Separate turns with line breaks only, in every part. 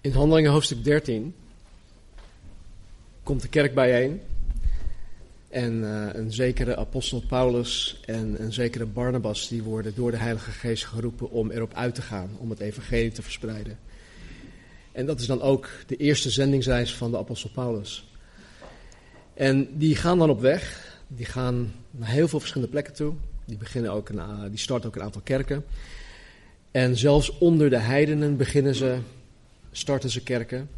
In Handelingen hoofdstuk 13 komt de kerk bijeen. En uh, een zekere apostel Paulus en een zekere Barnabas die worden door de Heilige Geest geroepen om erop uit te gaan, om het evangelie te verspreiden. En dat is dan ook de eerste zendingsreis van de apostel Paulus. En die gaan dan op weg, die gaan naar heel veel verschillende plekken toe. Die, beginnen ook een, die starten ook een aantal kerken. En zelfs onder de heidenen beginnen ze, starten ze kerken.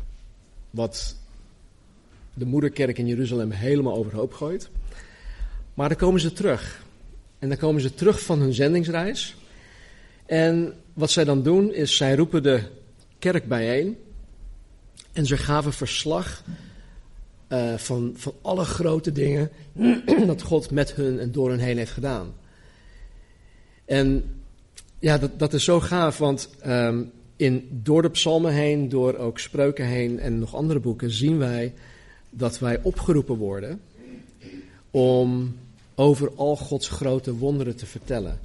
Wat de moederkerk in Jeruzalem helemaal overhoop gooit. Maar dan komen ze terug. En dan komen ze terug van hun zendingsreis. En wat zij dan doen is, zij roepen de kerk bijeen. En ze gaven verslag uh, van, van alle grote dingen dat God met hun en door hun heen heeft gedaan. En ja, dat, dat is zo gaaf, want um, in, door de psalmen heen, door ook spreuken heen en nog andere boeken zien wij dat wij opgeroepen worden om over al Gods grote wonderen te vertellen.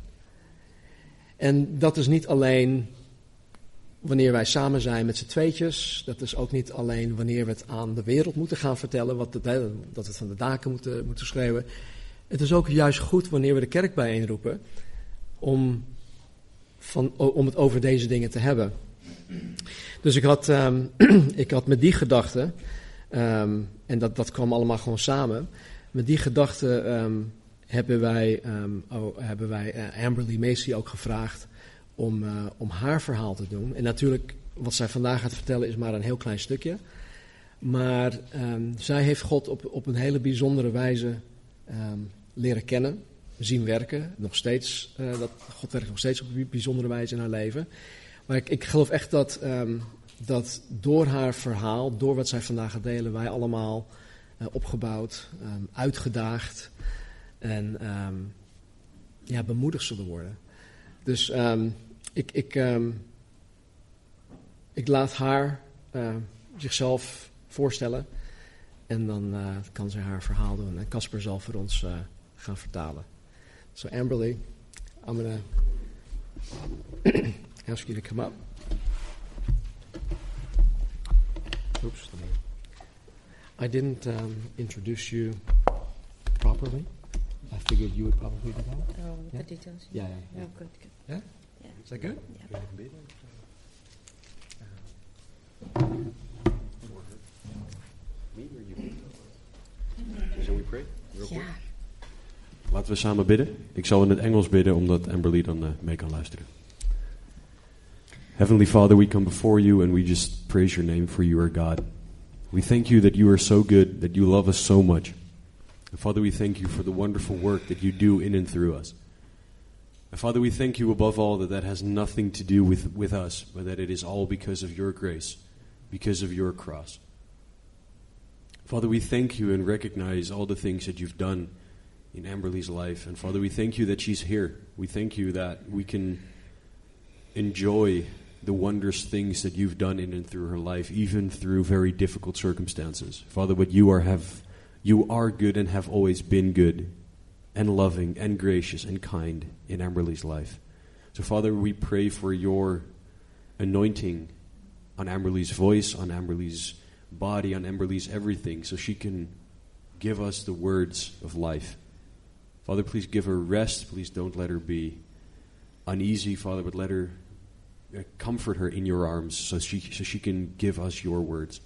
En dat is niet alleen wanneer wij samen zijn met z'n tweetjes. Dat is ook niet alleen wanneer we het aan de wereld moeten gaan vertellen, wat de, dat we het van de daken moeten, moeten schreeuwen. Het is ook juist goed wanneer we de kerk bijeenroepen om, van, om het over deze dingen te hebben. Dus ik had, um, ik had met die gedachte, um, en dat, dat kwam allemaal gewoon samen, met die gedachte um, hebben wij, oh, hebben wij uh, Amberly Macy ook gevraagd om, uh, om, haar verhaal te doen. En natuurlijk, wat zij vandaag gaat vertellen is maar een heel klein stukje. Maar um, zij heeft God op, op een hele bijzondere wijze um, leren kennen, zien werken. Nog steeds, uh, dat, God werkt nog steeds op een bijzondere wijze in haar leven. Maar ik, ik geloof echt dat, um, dat door haar verhaal, door wat zij vandaag gaat delen, wij allemaal uh, opgebouwd, ehm, uitgedaagd en ehm, ja, bemoedigd zullen worden. Dus ik, ik, um, ik laat haar uh, zichzelf voorstellen. En dan uh, kan ze haar verhaal doen. En Casper zal voor ons uh, gaan vertalen. So Amberly, I'm gonna ask you to come up. Oops. I didn't um, introduce you properly. I figured you would probably do that.
Oh, yeah? the details.
Yeah, yeah, yeah.
Oh, good, good.
Yeah? Is that good?
Yeah.
Shall we pray? Yeah. Laten we samen bidden. Ik zal in het Engels bidden, omdat Amberly dan uh, mee kan luisteren. Heavenly Father, we come before you and we just praise your name for you are God. We thank you that you are so good, that you love us so much. And Father, we thank you for the wonderful work that you do in and through us. And Father, we thank you above all that that has nothing to do with, with us, but that it is all because of your grace, because of your cross. Father, we thank you and recognize all the things that you've done in Amberly's life. And Father, we thank you that she's here. We thank you that we can enjoy the wondrous things that you've done in and through her life, even through very difficult circumstances. Father, but you are have you are good and have always been good and loving and gracious and kind in Amberly's life. So, Father, we pray for your anointing on Amberly's voice, on Amberly's body, on Amberly's everything, so she can give us the words of life. Father, please give her rest. Please don't let her be uneasy, Father, but let her uh, comfort her in your arms so she, so she can give us your words.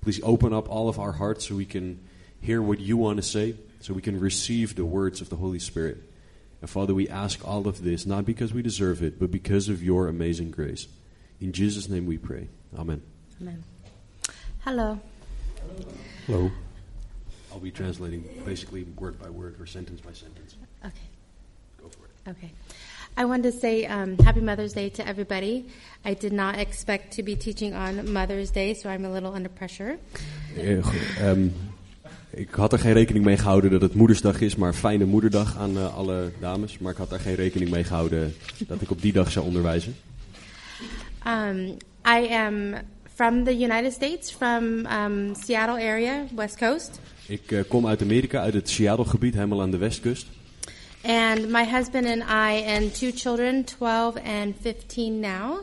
Please open up all of our hearts so we can hear what you want to say so we can receive the words of the Holy Spirit. And Father, we ask all of this, not because we deserve it, but because of your amazing grace. In Jesus' name we pray. Amen.
Amen. Hello.
Hello. I'll be translating basically word by word or sentence by sentence.
Okay.
Go for it.
Okay. I wanted to say um, Happy Mother's Day to everybody. I did not expect to be teaching on Mother's Day, so I'm a little under pressure.
um, Ik had er geen rekening mee gehouden dat het moedersdag is, maar fijne moederdag aan uh, alle dames. Maar ik had daar geen rekening mee gehouden dat ik op die dag zou onderwijzen.
Um, I am from the United States, from um, Seattle area, West Coast.
Ik uh, kom uit Amerika, uit het Seattle-gebied, helemaal aan de westkust.
And my husband and I and two children, 12 and 15 now.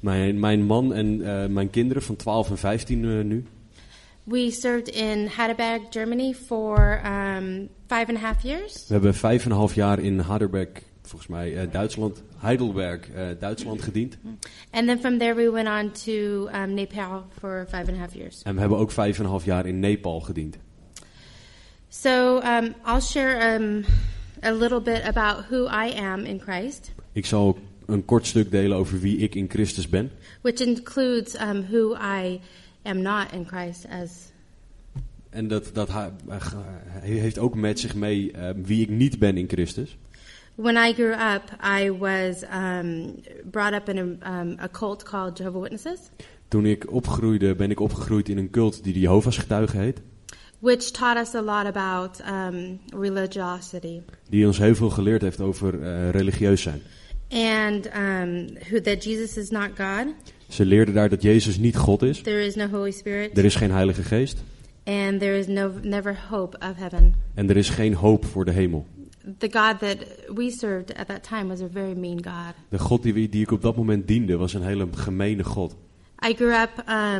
Mijn, mijn man en eh, mijn kinderen van 12 en 15 eh, nu.
We served in Heidelberg, Germany for um, five and a half years.
We hebben vijf en een half jaar in Heidelberg, volgens mij eh, Duitsland, Heidelberg, eh, Duitsland gediend.
And then from there, we went on to um, Nepal for five and a half years.
En we hebben ook vijf en een half jaar in Nepal gediend.
So um, I'll share um, a little bit about who I am in Christ,
Ik zal een kort stuk delen over wie ik in Christus ben.
which includes um, who I am not in Christ as
En dat, dat ha- hij heeft ook met zich mee eh, wie ik niet ben in Christus.
When I grew up, I was um, brought up in a, um, a cult called Jehovah Witnesses,
Toen ik opgroeide, ben ik opgegroeid in een cult die de Jehovah's getuigen heet.
which taught us a lot about um, religiosity
Die ons heel veel geleerd heeft over eh, religieus zijn.
and um, who that Jesus is not God,
Ze leerden daar dat Jezus niet God is.
there is no Holy Spirit,
Er is geen Heilige Geest.
and there is no never hope of heaven.
En er is geen hoop voor de hemel.
The God that we served at that time was a very mean God.
De God die, we- die ik op dat moment diende was een hele gemene God.
I grew up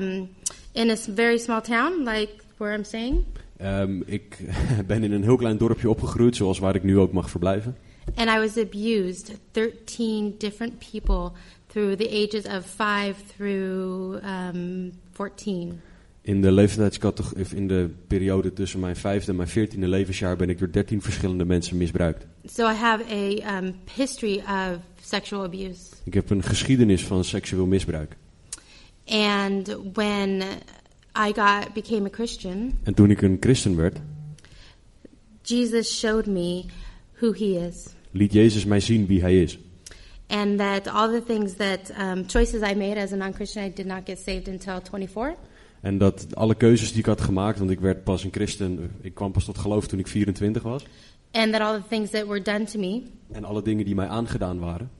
um, in a s- very small town, like where I'm staying,
Ehm, ik ben in een heel klein dorpje opgegroeid, zoals waar ik nu ook mag verblijven.
And I was abused 13 different people through the ages of 5 through um, 14.
In de, leeftijdscategorie, of in de periode tussen mijn vijfde en mijn veertiende levensjaar ben ik door dertien verschillende mensen misbruikt.
So I have a um, history of sexual abuse.
Ik heb een geschiedenis van seksueel misbruik.
And when I got became a Christian,
En toen ik een christen werd,
Jesus showed me who he is
liet Jezus mij zien wie hij is.
and that all the things that um, choices I made as a non-Christian I did not get saved until 24.
En dat alle keuzes die ik had gemaakt, want ik werd pas een christen, ik kwam pas tot geloof toen ik 24 was.
And that all the things that were done to me
En alle dingen die mij aangedaan waren,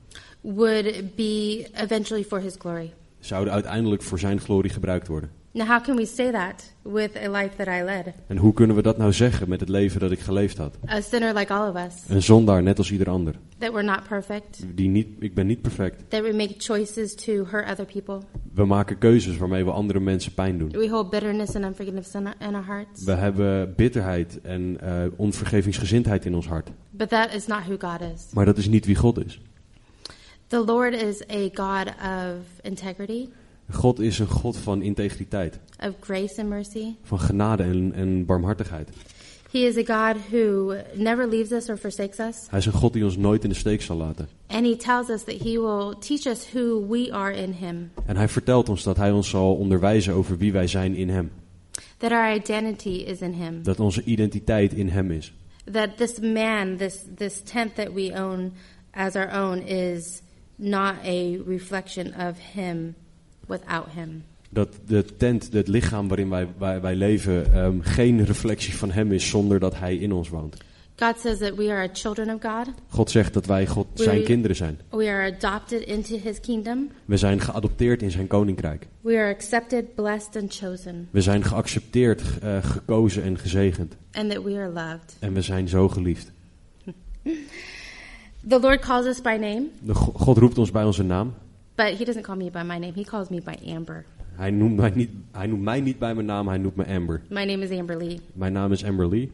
would be eventually for his glory.
zouden uiteindelijk voor zijn glorie gebruikt worden.
Now, how can we say that with a life that I led?
En hoe kunnen we dat nou zeggen met het leven dat ik geleefd had?
A sinner like all of us,
Een zondaar, net als ieder ander.
that we're not perfect,
Die niet, ik ben niet perfect.
that we make choices to hurt other people.
We maken keuzes waarmee we andere mensen pijn doen.
We hold bitterness and unforgiveness in our, in our hearts.
We hebben bitterheid en eh, onvergevingsgezindheid in ons hart.
But that is not who God is.
Maar dat is niet wie God is.
The Lord is a God of integrity,
God is een God van integriteit,
of grace and mercy.
van genade en, en barmhartigheid.
He is a God who never leaves us or forsakes us.
Hij is een God die ons nooit in de steek zal laten.
And He tells us that He will teach us who we are in Him,
En hij vertelt ons dat hij ons zal onderwijzen over wie wij zijn in hem.
that our identity is in Him.
Dat onze identiteit in hem is.
that this man, this this tent that we own as our own, is not a reflection of him without him.
Dat de tent, het lichaam waarin wij, wij, wij leven, ehm, geen reflectie van hem is zonder dat hij in ons woont.
God says that we are children of God.
God zegt dat wij God zijn
Wil-
kinderen zijn.
We are adopted into his kingdom.
We zijn geadopteerd in zijn koninkrijk.
We are accepted, blessed, and chosen,
We zijn geaccepteerd, ge- eh, gekozen en gezegend.
and that we are loved.
En we zijn zo geliefd.
The Lord calls us by name,
De Go- God roept ons bij onze naam.
but he doesn't call me by my name. He calls me by Amber.
Hij noemt mij niet, hij noemt mij niet bij mijn naam, hij noemt me Amber.
My name is Amber Lee.
Mijn naam is Amber Lee.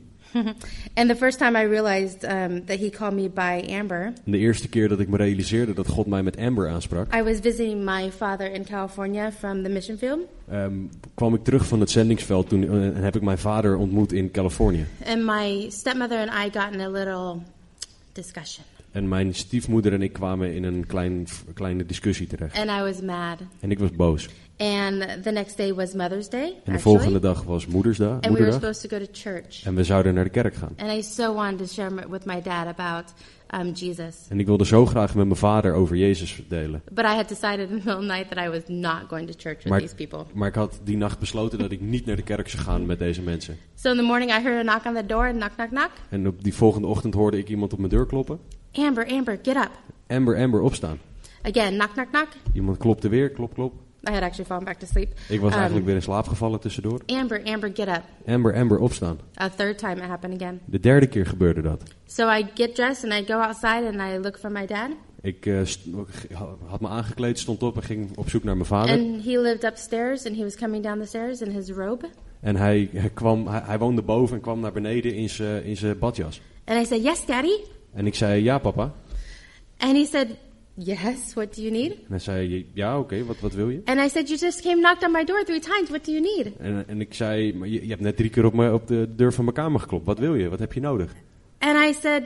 and the first time I realized um, that he called me by Amber,
En de eerste keer dat ik me realiseerde dat God mij met Amber aansprak,
I was visiting my father in California from the mission field.
ehm, kwam ik terug van het zendingsveld toen, eh, en heb ik mijn vader ontmoet in Californië.
And my stepmother and I got in a little discussion,
En mijn stiefmoeder en ik kwamen in een klein, kleine discussie terecht.
and I was mad.
En ik was boos.
And the next day was Mother's Day,
En de volgende
actually,
dag was moedersdag,
and we were
moederdag.
supposed to go to church.
En we zouden naar de kerk gaan.
And I so wanted to share m- with my dad about um, Jesus,
En ik wilde zo graag met mijn vader over Jezus delen.
but I had decided in the middle of the night that I was not going to church with
Maar,
these people.
maar ik had die nacht besloten dat ik niet naar de kerk zou gaan met deze mensen.
So in the morning, I heard a knock on the door, and knock, knock, knock.
En op die volgende ochtend hoorde ik iemand op mijn deur kloppen.
Amber, Amber, get up!
Amber, Amber, opstaan.
Again, knock, knock, knock.
Iemand klopte weer, klop, klop.
I had actually fallen back to sleep.
Ik was
Um,
eigenlijk weer in slaap gevallen tussendoor.
Amber, Amber, get up!
Amber, Amber, opstaan.
A third time, it happened again.
De derde keer gebeurde dat.
So I get dressed and I go outside and I look for my dad.
Ik eh, st- had me aangekleed, stond op en ging op zoek naar mijn vader.
And he lived upstairs and he was coming down the stairs in his robe.
En hij, hij kwam, hij, hij woonde boven en kwam naar beneden in zijn in zijn badjas.
And I said, Yes, Daddy.
En ik zei, ja papa.
And he said, Yes, what do you need?
En hij zei, ja oké, wat, wat wil je?
And I said, You just came knocked on my door three times. What do you need?
En, en ik zei, maar je, je hebt net drie keer op, me, op de deur van mijn kamer geklopt. Wat wil je? Wat heb je nodig?
And I said,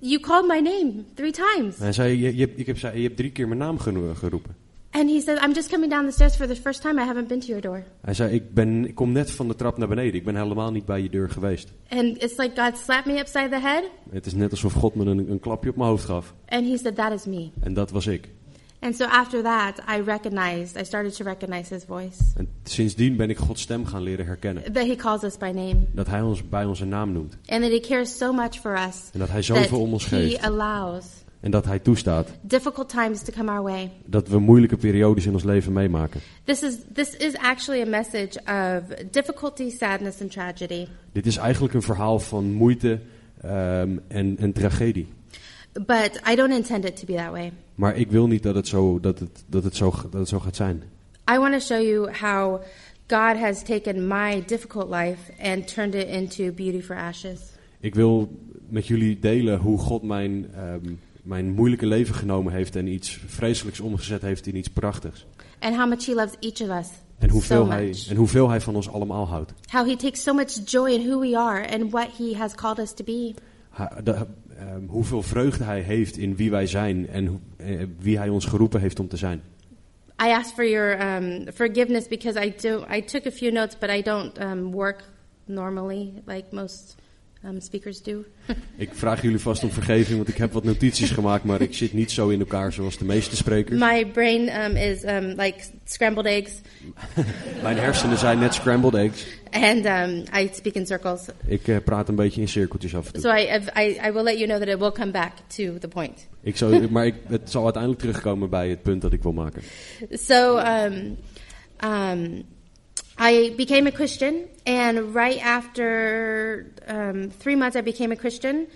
You called my name three times.
En hij zei, je, je, hebt- ik heb, zei, je hebt drie keer mijn naam geno- geroepen.
And he said, I'm just coming down the stairs for the first time. I haven't been to your door.
Hij zei, ik, ben, ik kom net van de trap naar beneden. Ik ben helemaal niet bij je deur geweest.
And it's like God slapped me upside the head.
Het is net alsof God me een, een klapje op mijn hoofd gaf.
And he said, That is me.
En dat was ik.
And so after that, I recognized, I started to recognize his voice.
En sindsdien ben ik Gods stem gaan leren herkennen.
That he calls us by name.
Dat hij ons bij onze naam noemt.
And that he cares so much for us.
En dat hij
That
zoveel om ons
he
geeft.
allows
En dat hij toestaat
difficult times to come our way.
dat we moeilijke periodes in ons leven meemaken.
This is this is actually a message of difficulty, sadness, and tragedy.
Dit is eigenlijk een verhaal van moeite ehm, en, en tragedie.
But I don't intend it to be that way.
Maar ik wil niet dat het zo, dat het, dat het zo, dat het zo gaat zijn.
I want to show you how God has taken my difficult life and turned it into beauty for ashes.
Ik wil met jullie delen hoe God mijn, ehm, mijn moeilijke leven genomen heeft en iets vreselijks omgezet heeft in iets prachtigs.
And how much he loves each of us so
En hoeveel, hij,
much.
en hoeveel hij van ons allemaal houdt.
How he takes so much joy in who we are and what he has called us to be.
Ha- de- ehm, hoeveel vreugde hij heeft in wie wij zijn en hoe- eh, wie hij ons geroepen heeft om te zijn.
I ask for your um, forgiveness because I do. I took a few notes, but I don't um, work normally like most um, speakers do.
Ik vraag jullie vast om vergeving, want ik heb wat notities gemaakt, maar ik zit niet zo in elkaar zoals de meeste sprekers.
My brain um, is um, like scrambled eggs,
Mijn hersenen zijn net scrambled eggs.
and um, I speak in circles.
Ik eh, praat een beetje in cirkeltjes af en toe.
So I, I, I will let you know that it will come back to the point.
Ik zou, maar ik, het zal uiteindelijk terugkomen bij het punt dat ik wil maken.
So um, um, I became a Christian, and right after um, three months, I became a Christian,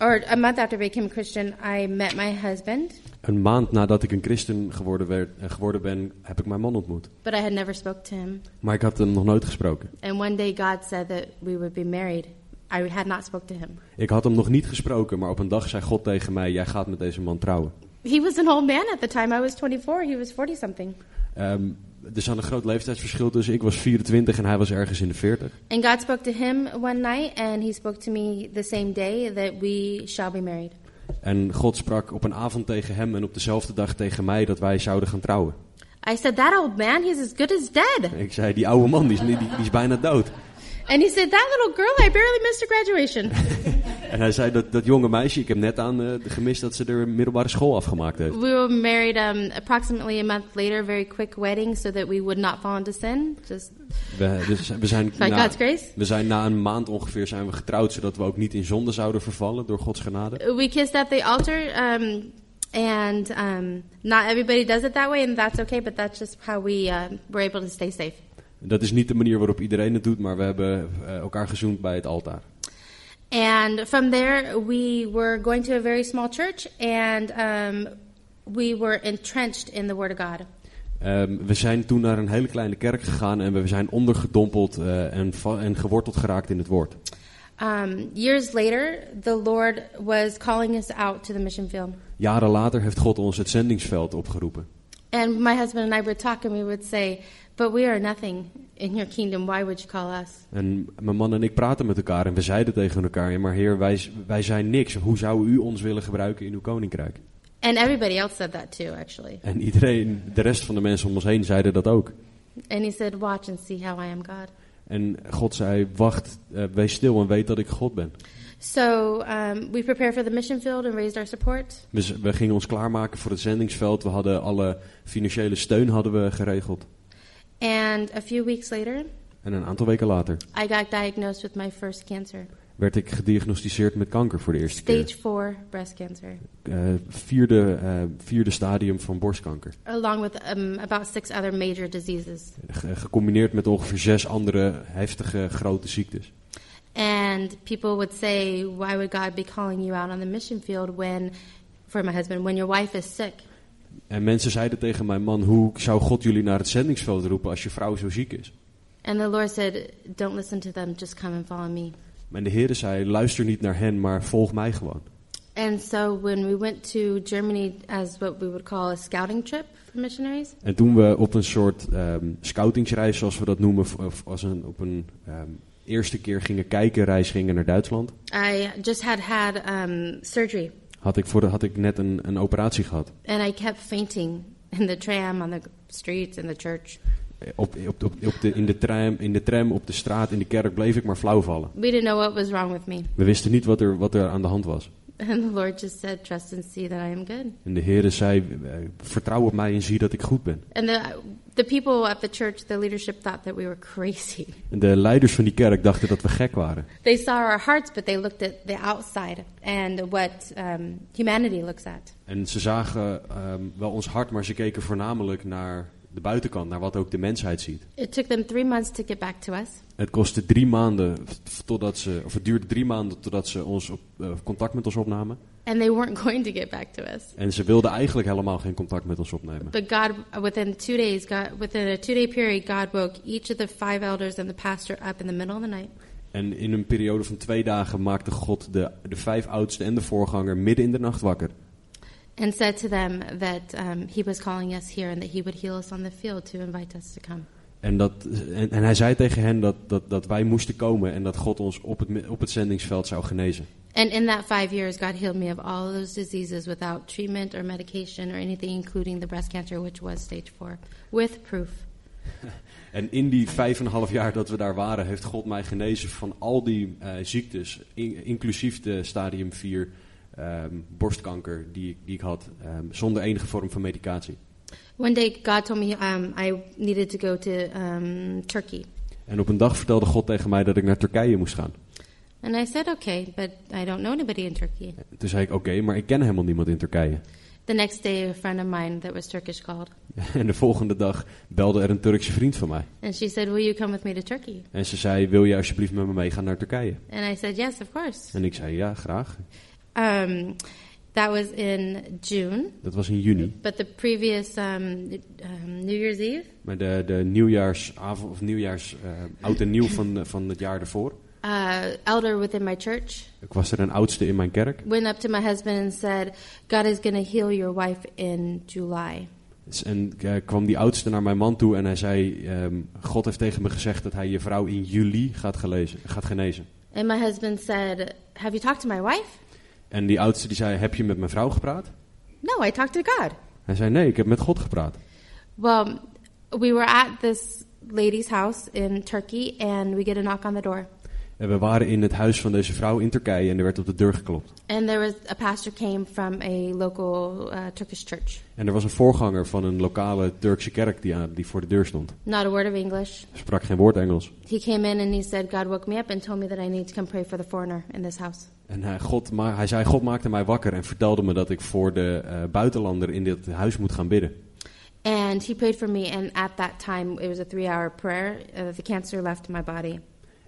or a month after I became a Christian, I met my husband.
Een maand nadat ik een christen geworden, werd, eh, geworden ben, heb ik mijn man ontmoet.
But I had never spoke to him.
Maar ik had hem nog nooit gesproken.
And one day God said that we would be married. I had not spoke to him.
Ik had hem nog niet gesproken, maar op een dag zei God tegen mij: Jij gaat met deze man trouwen.
He was an old man at the time. I was 24. He was 40 something.
Ehm, er zat een groot leeftijdsverschil tussen. Ik was 24 en hij was ergens in de 40.
And God spoke to him one night, and he spoke to me the same day that we shall be married.
En God sprak op een avond tegen hem en op dezelfde dag tegen mij dat wij zouden gaan trouwen.
I said, That old man, he's as good as dead.
Ik zei: Die oude man die is, die, die is bijna dood.
And he said, That little girl, I barely missed her graduation.
En hij zei: Dat, dat jonge meisje, ik heb net aan eh, gemist dat ze er middelbare school afgemaakt heeft.
we were married um, approximately a month later, very quick wedding, so that we would not fall into sin. Just
We, dus we, zijn
By
na,
God's grace.
we zijn na een maand ongeveer zijn we getrouwd, zodat we ook niet in zonde zouden vervallen door Gods genade.
we kissed at the altar um, and um, not everybody does it that way and that's okay but that's just how we um, were able to stay safe
Dat is niet de manier waarop iedereen het doet, maar we hebben eh, elkaar gezoend bij het altaar.
and from there we were going to a very small church and um, we were entrenched in the word of god
Ehm, we zijn toen naar een hele kleine kerk gegaan en we zijn ondergedompeld eh, en, va- en geworteld geraakt in het woord.
um, years later the lord was calling us out to the mission field
Jaren later heeft God ons het zendingsveld opgeroepen.
and my husband and i would talk and we would say but we are nothing in your kingdom why would you call us
En mijn man en ik praten met elkaar en we zeiden tegen elkaar, "Ja, maar heer, wij, z- wij zijn niks. Hoe zou u ons willen gebruiken in uw koninkrijk?
and everybody else said that too actually
En iedereen, de rest van de mensen om ons heen, zeiden dat ook.
and he said watch and see how i am god
En God zei: Wacht, eh, wees stil en weet dat ik God ben.
So um, we prepared for the mission field and raised our support.
We, z- Dus we gingen ons klaarmaken voor het zendingsveld. We hadden alle financiële steun hadden we geregeld.
And a few weeks later,
En een aantal weken later
I got diagnosed with my first cancer,
werd ik gediagnosticeerd met kanker voor de eerste keer.
stage four breast cancer,
Eh, vierde, eh, vierde stadium van borstkanker.
along with um, about six other major diseases.
Ge- gecombineerd met ongeveer zes andere heftige grote ziektes.
And people would say, Why would God be calling you out on the mission field when for my husband when your wife is sick.
En mensen zeiden tegen mijn man, hoe zou God jullie naar het zendingsveld roepen als je vrouw zo ziek is?
And the Lord said, Don't listen to them, just come and follow me.
En de Heer zei, luister niet naar hen, maar volg mij gewoon.
And so when we went to Germany as what we would call a scouting trip for missionaries,
En toen Eh, we op een soort ehm, scoutingsreis, zoals we dat noemen, of- of als een, op een ehm, eerste keer gingen kijken, reis gingen naar Duitsland,
I just had had um, surgery
had ik, voor de, had ik net een, een operatie gehad.
and I kept fainting in the tram, on the streets, in the church.
Eh, Op, op, op, op de, in, de tram, in de tram, op de straat, in de kerk bleef ik maar flauw vallen.
We didn't know what was wrong with me.
We wisten niet wat er, wat er aan de hand was.
And the Lord just said, Trust and see that I am good.
En de Heer zei, eh, vertrouw op mij en zie dat ik goed ben.
And the, the people at the church, the leadership thought that we were crazy.
En de leiders van die kerk dachten dat we gek waren.
They saw our hearts, but they looked at the outside and what um, humanity looks at.
En ze zagen ehm, wel ons hart, maar ze keken voornamelijk naar de buitenkant, naar wat ook de mensheid ziet.
It took them three months to get back to us.
Het kostte drie maanden f- totdat ze, of het duurde drie maanden totdat ze ons op, eh, contact met ons opnamen.
And they weren't going to get back to us.
En ze wilden eigenlijk helemaal geen contact met ons opnemen.
But God, within two days, God, within a two day period, God woke each of the five elders and the pastor up in the middle of the night.
En in een periode van twee dagen maakte God de, de vijf oudsten en de voorganger midden in de nacht wakker.
and said to them that um, he was calling us here and that he would heal us on the field to invite us to come.
En, dat, en, en hij zei tegen hen dat, dat, dat wij moesten komen en dat God ons op het, mi- op het zendingsveld zou genezen.
And in that five years, God healed me of all of those diseases without treatment or medication or anything, including the breast cancer, which was stage four, with proof.
En in die vijf en een half jaar dat we daar waren, heeft God mij genezen van al die eh, ziektes, in- inclusief de stadium 4 ehm, borstkanker die, ik- die ik had, ehm, zonder enige vorm van medicatie.
One day, God told me um, I needed to go to um, Turkey.
En op een dag vertelde God tegen mij dat ik naar Turkije moest gaan.
And I said, okay, but I don't know anybody in Turkey.
En toen zei ik, oké, maar ik ken helemaal niemand in Turkije.
The next day, a friend of mine that was Turkish called,
En de volgende dag belde er een Turkse vriend van mij.
and she said, Will you come with me to Turkey?
En ze zei, wil je alsjeblieft met me meegaan naar Turkije?
And I said, Yes, of course.
En ik zei, ja, graag.
Um, that was in June.
Dat was in juni.
But the previous um, um, New Year's Eve,
Maar de, de nieuwjaarsavond, of nieuwjaars, eh, oud en nieuw van, eh, van het jaar ervoor...
uh, elder within my church
Ik was er een oudste in mijn kerk.
went up to my husband and said, "God is going to heal your wife in July."
En eh, kwam die oudste naar mijn man toe en hij zei... ehm, God heeft tegen me gezegd dat hij je vrouw in juli gaat, gelezen, gaat genezen.
And my husband said, "Have you talked to my wife?"
En die oudste die zei, heb je met mijn vrouw gepraat?
No, I talked to God.
Hij zei, nee, ik heb met God gepraat.
Well, we were at this lady's house in Turkey, and we get a knock on the door,
En we waren in het huis van deze vrouw in Turkije en er werd op de deur geklopt.
and there was a pastor came from a local uh, Turkish church.
En er was een voorganger van een lokale Turkse kerk die, aan, die voor de deur stond.
Not a word of English.
Hij sprak geen woord Engels.
He came in and he said, "God woke me up and told me that I need to come pray for the foreigner in this house."
En hij, God, ma- hij zei, God maakte mij wakker en vertelde me dat ik voor de eh, buitenlander in dit huis moet gaan bidden.
And he prayed for me, and at that time, it was a three hour prayer. Uh, the cancer left my body.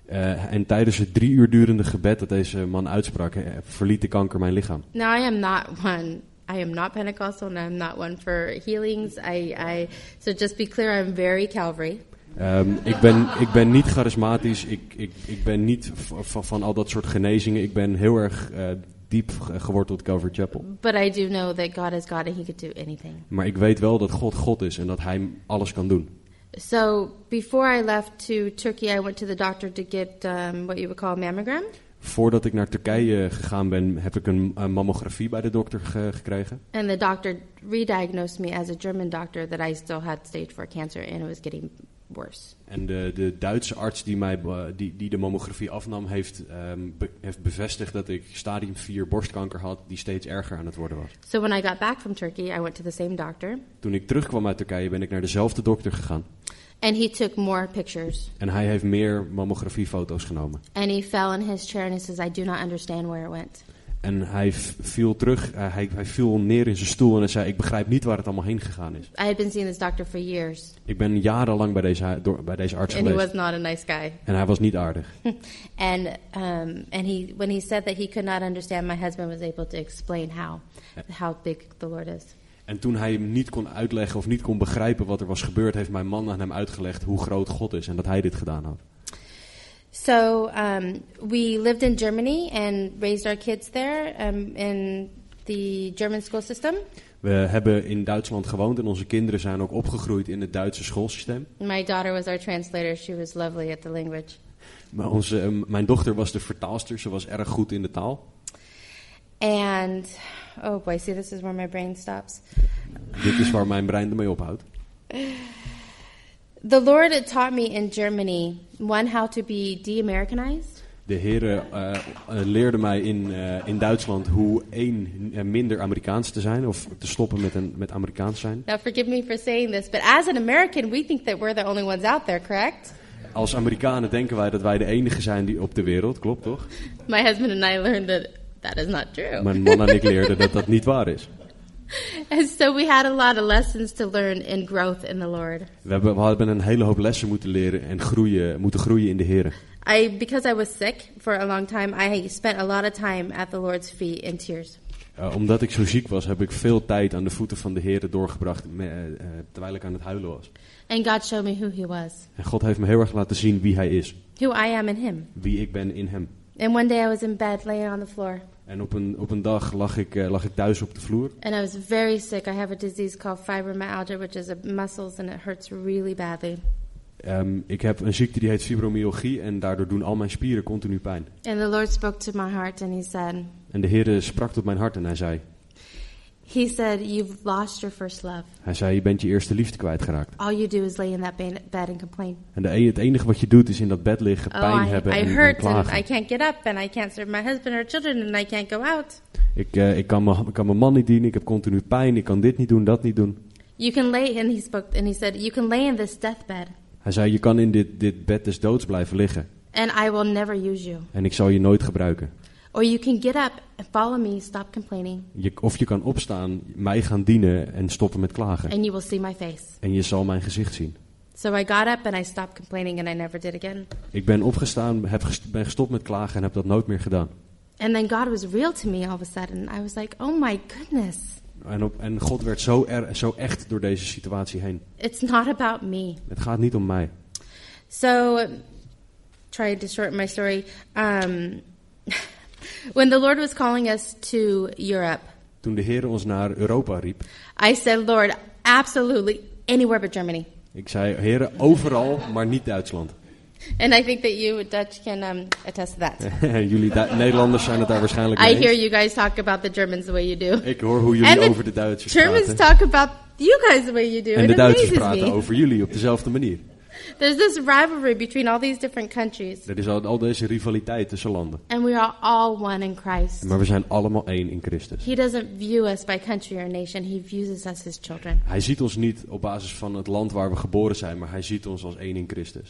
Eh, en tijdens het drie uur durende gebed dat deze man uitsprak, eh, verliet de kanker mijn lichaam.
Now, I am not one, I am not Pentecostal, and I'm not one for healings. I, I So just be clear, I'm very Calvary.
Ehm, ik, ben, ik ben niet charismatisch, ik, ik, ik ben niet v- van, van al dat soort genezingen. Ik ben heel erg eh, diep ge- geworteld Calvary Chapel.
But I do know that God is God, and He could do anything.
Maar ik weet wel dat God God is en dat Hij alles kan doen.
So before I left to Turkey, I went to the doctor to get um, what you would call a mammogram.
Voordat ik naar Turkije gegaan ben, heb ik een, een mammografie bij de dokter ge- gekregen.
And the doctor re diagnosed me as a German doctor that I still had stage 4 cancer, and it was getting worse.
En de, de Duitse arts die, mij, be- die, die de mammografie afnam, heeft, ehm, be- heeft bevestigd dat ik stadium 4 borstkanker had, die steeds erger aan het worden was.
So when I got back from Turkey, I went to the same doctor,
Toen ik terugkwam uit Turkije ben ik naar dezelfde dokter gegaan.
and he took more pictures.
En hij heeft meer mammografiefoto's genomen.
And he fell in his chair and he says, "I do not understand where it went."
En hij v- viel terug, eh, hij, hij viel neer in zijn stoel en hij zei: Ik begrijp niet waar het allemaal heen gegaan is.
I had been seeing this doctor for years,
Ik ben jarenlang bij deze, hu- door- bij deze arts
and he
geweest.
was not a nice guy.
En hij was niet aardig.
and um, and he when he said that he could not understand, my husband was able to explain how how big the Lord is.
En toen hij hem niet kon uitleggen of niet kon begrijpen wat er was gebeurd, heeft mijn man aan hem uitgelegd hoe groot God is en dat hij dit gedaan had.
So um, we lived in Germany and raised our kids there um, in the German school system.
We hebben in Duitsland gewoond en onze kinderen zijn ook opgegroeid in het Duitse schoolsysteem.
My daughter was our translator. She was lovely at the language.
Maar onze, eh, mijn dochter was de vertaalster, ze was erg goed in de taal.
And oh boy, see, this is where my brain stops.
Dit is waar mijn brein ermee ophoudt.
The Lord had taught me in Germany one how to be de-Americanized,
De heren eh, eh, leerde mij in, eh, in Duitsland hoe één eh, minder Amerikaans te zijn of te stoppen met, een, met Amerikaans zijn.
Now, forgive me for saying this, but as an American, we think that we're the only ones out there, correct?
Als Amerikanen denken wij dat wij de enige zijn die op de wereld, klopt toch?
My husband and I learned that that is not true.
Mijn man en ik leerden dat dat niet waar is.
and so we had a lot of lessons to learn in growth in the Lord.
We hebben, we hebben een hele hoop lessen moeten leren en groeien, moeten groeien in de heren.
I, because I was sick for a long time, I spent a lot of time at the Lord's feet in tears.
Eh, omdat ik zo ziek was, heb ik veel tijd aan de voeten van de heren doorgebracht me- eh, eh, terwijl ik aan het huilen was.
And God showed me who He was,
En God heeft me heel erg laten zien wie hij is,
who I am in Him.
wie ik ben in hem.
And one day I was in bed laying on the floor,
En op een, op een dag lag ik, eh, lag ik thuis op de vloer
and I was very sick. I have a disease called fibromyalgia, which is a muscles, and it hurts really badly.
Ehm, ik heb een ziekte die heet fibromyalgie en daardoor doen al mijn spieren continu pijn.
And the Lord spoke to my heart, and He said,
En de Heer sprak tot mijn hart en hij zei,
He said, You've lost your first love.
hij zei, je bent je eerste liefde kwijtgeraakt.
All you do is lay in that ba- bed and complain.
En de, e- het enige wat je doet is in dat bed liggen,
Oh,
pijn
I,
hebben
I
en, en
hurt and
klagen.
I can't get up and I can't serve my husband or children and I can't go out.
Ik, eh, ik, kan mijn, ik kan mijn man niet dienen, ik heb continu pijn, ik kan dit niet doen, dat niet doen.
You can lay, and he spoke, and he said, You can lay in this deathbed
Hij zei, je kan in dit, dit bed des doods blijven liggen
and I will never use you.
en ik zal je nooit gebruiken.
Or you can get up and follow me, stop complaining,
Je, of je kan opstaan, mij gaan dienen en stoppen met klagen.
and you will see my face.
En je zal mijn gezicht zien.
So I got up and I stopped complaining and I never did again.
Ik ben opgestaan, heb gest- ben gestopt met klagen en heb dat nooit meer gedaan.
And then God was real to me all of a sudden. I was like, Oh my goodness,
En, op, en God werd zo, er, zo echt door deze situatie heen.
it's not about me.
Het gaat niet om mij.
So, trying to shorten my story. Um, when the Lord was calling us to Europe,
Toen de Heer ons naar Europa riep,
I said, Lord, absolutely anywhere but Germany.
ik zei, Heer, overal, maar niet Duitsland.
And I think that you, Dutch, can um, attest to that.
Jullie Du- Nederlanders zijn het daar waarschijnlijk
I
mee
hear
eens.
you guys talk about the Germans the way you do.
Ik hoor hoe
And
jullie
the
over de Duitsers
Germans
praten.
talk about you guys the way you do.
En
it
de Duitsers
amazes
praten
me.
over jullie op dezelfde manier.
There's this rivalry between all these different countries,
Er is al, al deze rivaliteit tussen landen.
and we are all one in Christ.
Maar we zijn allemaal één in Christus.
He doesn't view us by country or nation, He views us as His children.
Hij ziet ons niet op basis van het land waar we geboren zijn, maar hij ziet ons als één in Christus.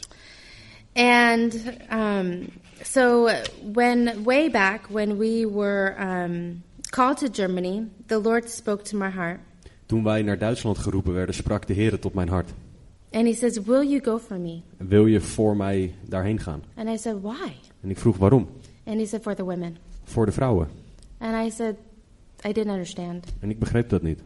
And um, so, when way back when we were um, called to Germany, the Lord spoke to my heart,
Toen wij naar Duitsland geroepen werden, sprak de Heer tot mijn hart.
and He says, "Will you go for me?"
Wil je voor mij daarheen gaan?
And I said, "Why?"
En ik vroeg waarom?
And He said, "For the women."
Voor de vrouwen.
And I said, "I didn't understand."
En ik begreep dat niet.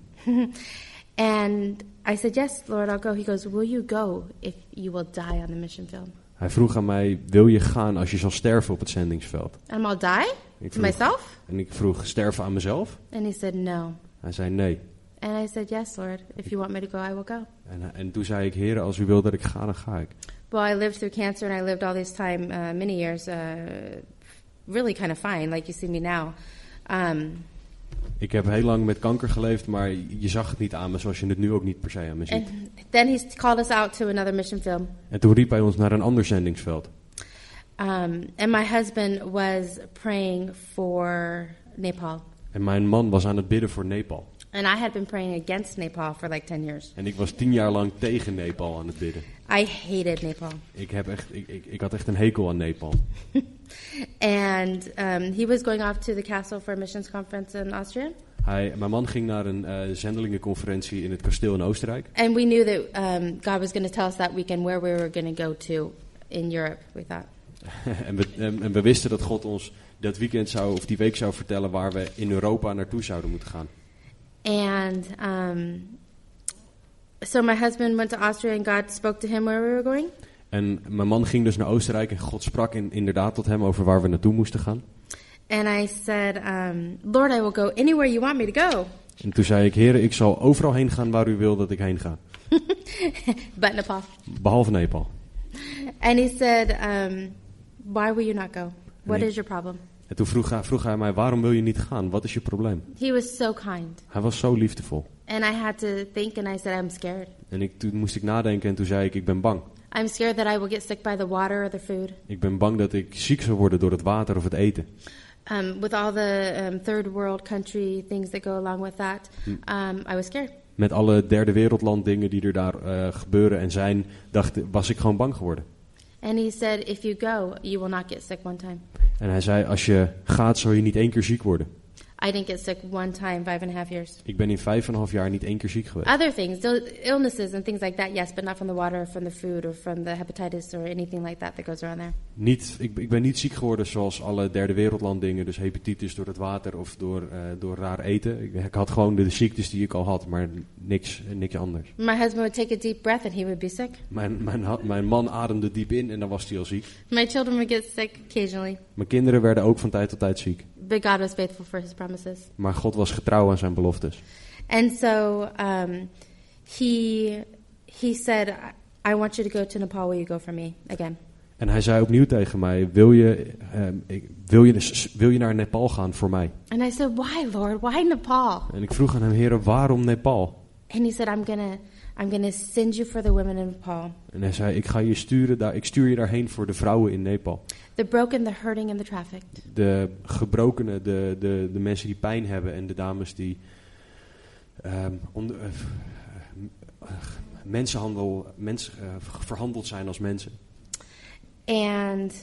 and I said, "Yes, Lord, I'll go." He goes, "Will you go if you will die on the mission field?"
Hij vroeg aan mij, wil je gaan als je zal sterven op het zendingsveld?
And I'll die
Ik
to
vroeg,
myself.
En ik vroeg, sterven aan mezelf?
And He said, "No."
Hij zei nee.
And I said, "Yes, Lord. If you want me to go, I will go."
En, en toen zei ik, heren, als u wil dat ik ga, dan ga ik.
Well, I lived through cancer, and I lived all this time, uh, many years, uh, really kind of fine, like you see me now. Um,
Ik heb heel lang met kanker geleefd, maar je zag het niet aan me, zoals je het nu ook niet per se aan me ziet.
and then he called us out to another mission field,
En toen riep hij ons naar een ander zendingsveld.
um, and my husband was praying for Nepal,
En mijn man was aan het bidden voor Nepal.
And I had been praying against Nepal for like 10 years.
En ik was tien jaar lang tegen Nepal aan het bidden.
I hated Nepal.
Ik, heb echt, ik, ik, ik had echt een hekel aan Nepal.
And um, he was going off to the castle for a missions conference in Austria.
Hij, mijn man ging naar een eh, zendelingenconferentie in het kasteel in Oostenrijk.
And we knew that um, God was going to tell us that weekend where we were going to go to in Europe, we thought.
en, we, en, en we wisten dat God ons dat weekend zou, of die week zou vertellen waar we in Europa naartoe zouden moeten gaan.
And um, so my husband went to Austria and God spoke to him where we were going.
En mijn man ging dus naar Oostenrijk en God sprak in, inderdaad tot hem over waar we naartoe moesten gaan.
And I said, um, Lord, I will go anywhere you want me to go,
En toen zei ik, heren, ik zal overal heen gaan waar u wil dat ik heen ga.
but Nepal.
Behalve Nepal.
And he said, um, Why will you not go? What
And he-
is your problem?
En toen vroeg hij, vroeg hij mij, waarom wil je niet gaan? Wat is je probleem?
He was so kind.
Hij was zo liefdevol.
And I had to think, and I said, I'm scared.
En ik, toen moest ik nadenken en toen zei ik, ik ben bang.
I'm scared that I will get sick by the water or the food.
Ik ben bang dat ik ziek zou worden door het water of het eten.
Um, with all the um, third world country things that go along with that, um, I was scared.
Met alle derde wereldland dingen die er daar eh, gebeuren en zijn, dacht, was ik gewoon bang geworden.
And he said, If you go, you will not get sick one time.
En hij zei, als je gaat zal je niet één keer ziek worden.
I didn't get sick one time, five and a half years.
Ik ben in vijf en een half jaar niet één keer ziek geweest.
Other things, ill- illnesses and things like that, yes, but not from the water, or from the food, or from the hepatitis, or anything like that that goes around there.
Niet, ik, ik ben niet ziek geworden zoals alle derde wereldland dingen. Dus hepatitis door het water of door, eh, door raar eten. Ik, ik had gewoon de ziektes die ik al had, maar niks, niks anders.
My husband would take a deep breath and he would be sick.
Mijn, mijn, ha- mijn man ademde diep in en dan was hij al ziek.
My children would get sick occasionally,
Mijn kinderen werden ook van tijd tot tijd ziek.
but God was faithful for his promises.
Maar God was getrouw aan zijn beloftes.
And so um, he he said, "I- "I want you to go to Nepal. Will you go for me again?"
En hij zei opnieuw tegen mij, wil je, ehm, ik, wil je, dus, wil je naar Nepal gaan voor mij?
And I said, "Why, Lord? Why Nepal?"
En ik vroeg aan hem, heren, waarom Nepal?
And he said, "I'm gonna I'm gonna send you for the women in Nepal,
En hij zei, ik ga je sturen, daar, ik stuur je daarheen voor de vrouwen in Nepal.
the broken, the hurting, and the trafficked."
De gebrokenen, de, de, de mensen die pijn hebben en de dames die ehm, onder- eh, f- eh, mensenhandel, mens, eh, verhandeld zijn als mensen.
And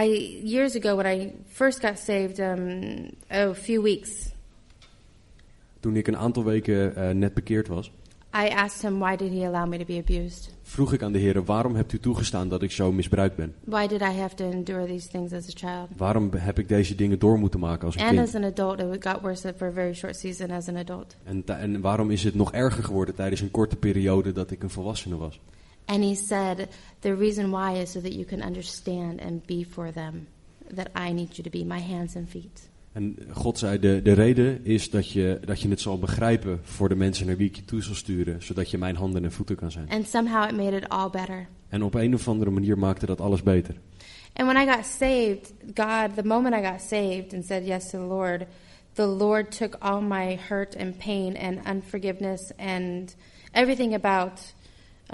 I years ago when I first got saved, um, a few weeks,
Toen ik een aantal weken eh, net bekeerd was,
I asked him, "Why did he allow me to be abused?
vroeg ik aan de heren, waarom hebt u toegestaan dat ik zo misbruikt ben?
Why did I have to endure these things as a child?"
Waarom heb ik deze dingen door moeten maken als een
And
kind?
as an adult, it got worse for a very short season as an adult.
En, ta- en waarom is het nog erger geworden tijdens een korte periode dat ik een volwassene was?
And he said, The reason why is so that you can understand and be for them, that I need you to be my hands and feet.
En God zei, de, de reden is dat je, dat je het zal begrijpen voor de mensen naar wie ik je toe zal sturen, zodat je mijn handen en voeten kan zijn.
And somehow it made it all better.
En op een of andere manier maakte dat alles beter.
And when I got saved, God, the moment I got saved and said yes to the Lord, the Lord took all my hurt and pain and unforgiveness and everything about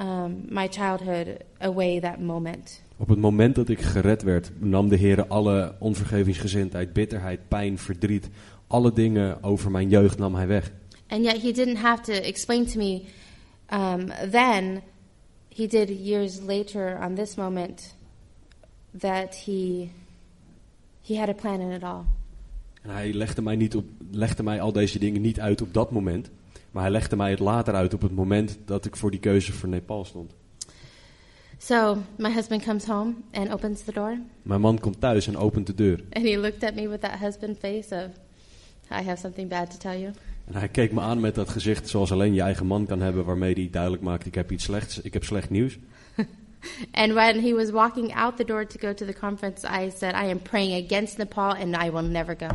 um, my childhood away that moment.
Op het moment dat ik gered werd, nam de Heer alle onvergevingsgezindheid, bitterheid, pijn, verdriet, alle dingen over mijn jeugd nam hij weg.
And yet he didn't have to explain to me um, then, he did years later on this moment, that he, he had a plan in it all.
En hij legde mij, niet op, legde mij al deze dingen niet uit op dat moment, maar hij legde mij het later uit op het moment dat ik voor die keuze voor Nepal stond.
So my husband comes home and opens the door,
Mijn man komt thuis en opent de deur.
and he looked at me with that husband face of, I have something bad to tell you.
En hij keek me aan met dat gezicht zoals alleen je eigen man kan hebben, waarmee hij duidelijk maakt: ik heb iets slechts, ik heb slecht nieuws.
And when he was walking out the door to go to the conference, I said, I am praying against Nepal and I will never go.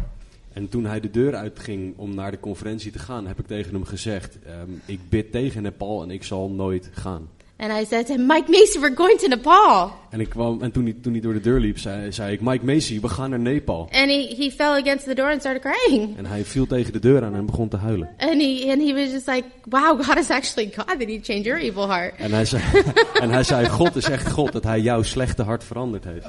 En toen hij de deur uitging om naar de conferentie te gaan, heb ik tegen hem gezegd: ehm, ik bid tegen Nepal en ik zal nooit gaan.
And I said to him, Mike Mason, we're going to Nepal.
En, ik kwam, en toen, hij, toen hij door de deur liep, zei, zei ik: Mike Macy, we gaan naar Nepal.
And he, he fell against the door and started crying.
En hij viel tegen de deur aan en begon te huilen.
And he and he was just like, "Wow, God is actually God that He changed your evil heart."
En hij, zei, en hij zei: God is echt God dat hij jouw slechte hart veranderd heeft.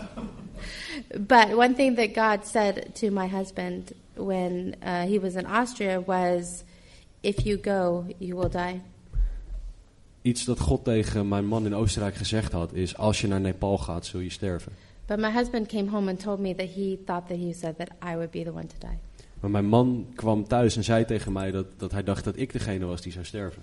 But one thing that God said to my husband when uh, he was in Austria was, If you go, you will die.
Iets dat God tegen mijn man in Oostenrijk gezegd had is: als je naar Nepal gaat, zul je sterven.
But my husband came home and told me that he thought that he said that I would be the one to die.
Maar mijn man kwam thuis en zei tegen mij dat, dat hij dacht dat ik degene was die zou sterven.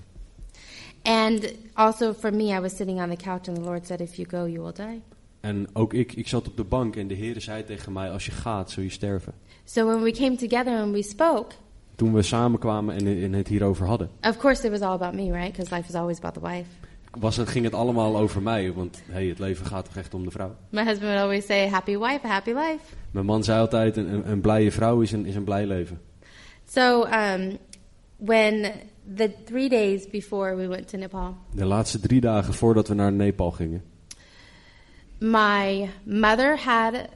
And also for me, I was sitting on the couch and the Lord said, If you go, you will die.
En ook ik, ik zat op de bank en de Heer zei tegen mij: als je gaat, zul je sterven.
So when we came together and we spoke,
Toen we samenkwamen en, en het hierover hadden,
of course it was all about me, right? Because life is always about the wife.
was het, ging het allemaal over mij. Want hey, het leven gaat toch echt om de vrouw.
My husband would always say, Happy wife, happy life.
Mijn man zei altijd: een, een, een blije vrouw is een, is een blij leven.
So um, when the three days before we went to Nepal,
De laatste drie dagen voordat we naar Nepal gingen,
my mother had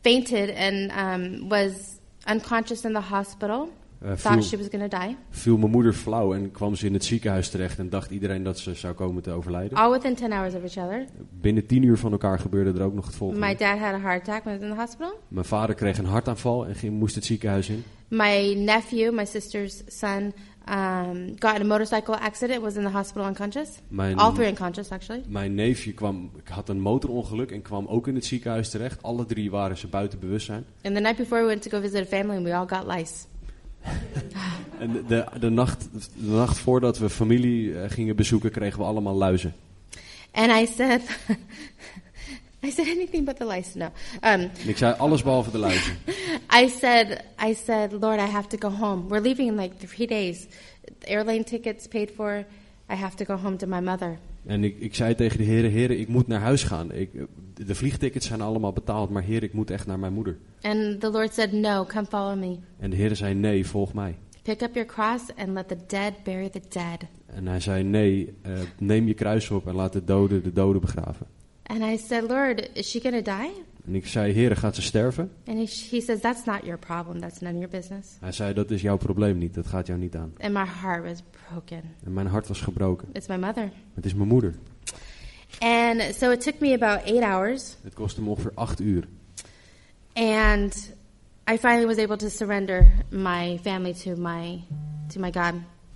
fainted and um, was unconscious in the hospital.
Eh,
thought
viel-
she was going to die.
viel mijn moeder flauw en kwam ze in het ziekenhuis terecht en dacht iedereen dat ze zou komen te overlijden.
All within 10 hours of each other.
Binnen tien uur van elkaar gebeurde er ook nog het volgende.
My dad had a heart attack when he was in the hospital.
Mijn vader kreeg een hartaanval en ging, moest het ziekenhuis in.
My nephew, my sister's son, um, got in a motorcycle accident, was in the hospital unconscious.
My-
All three unconscious, actually.
Mijn neefje kwam, had een motorongeluk en kwam ook in het ziekenhuis terecht. Alle drie waren ze buiten bewustzijn.
And the night before, we went to go visit a family, and we all got lice.
En de, de, de nacht, de nacht voordat we familie eh, gingen bezoeken, kregen we allemaal luizen.
And I said, I said anything but the lice. No, um,
En ik zei alles behalve de luizen.
I said, I said, Lord, I have to go home. We're leaving in like three days. Airline tickets paid for. I have to go home to my mother.
En ik, ik zei tegen de heren, heren, ik moet naar huis gaan. Ik, eh, de vliegtickets zijn allemaal betaald, maar heren, ik moet echt naar mijn moeder.
And the Lord said, No, come follow me.
En de heren zei, nee, volg mij.
Pick up your cross and let the dead bury the dead.
En hij zei, nee, eh, neem je kruis op en laat de doden de doden begraven.
And I said, Lord, is she going to die?
En ik zei, heren, gaat ze sterven?
And he, he says, That's not your problem. That's none of your business.
Hij zei, dat is jouw probleem niet, dat gaat jou niet aan.
And my heart was broken.
En mijn hart was gebroken.
It's my mother.
Het is mijn moeder.
And so it took me about eight hours.
Het kostte me ongeveer acht uur.
And I finally was able to surrender my family to my, to my God.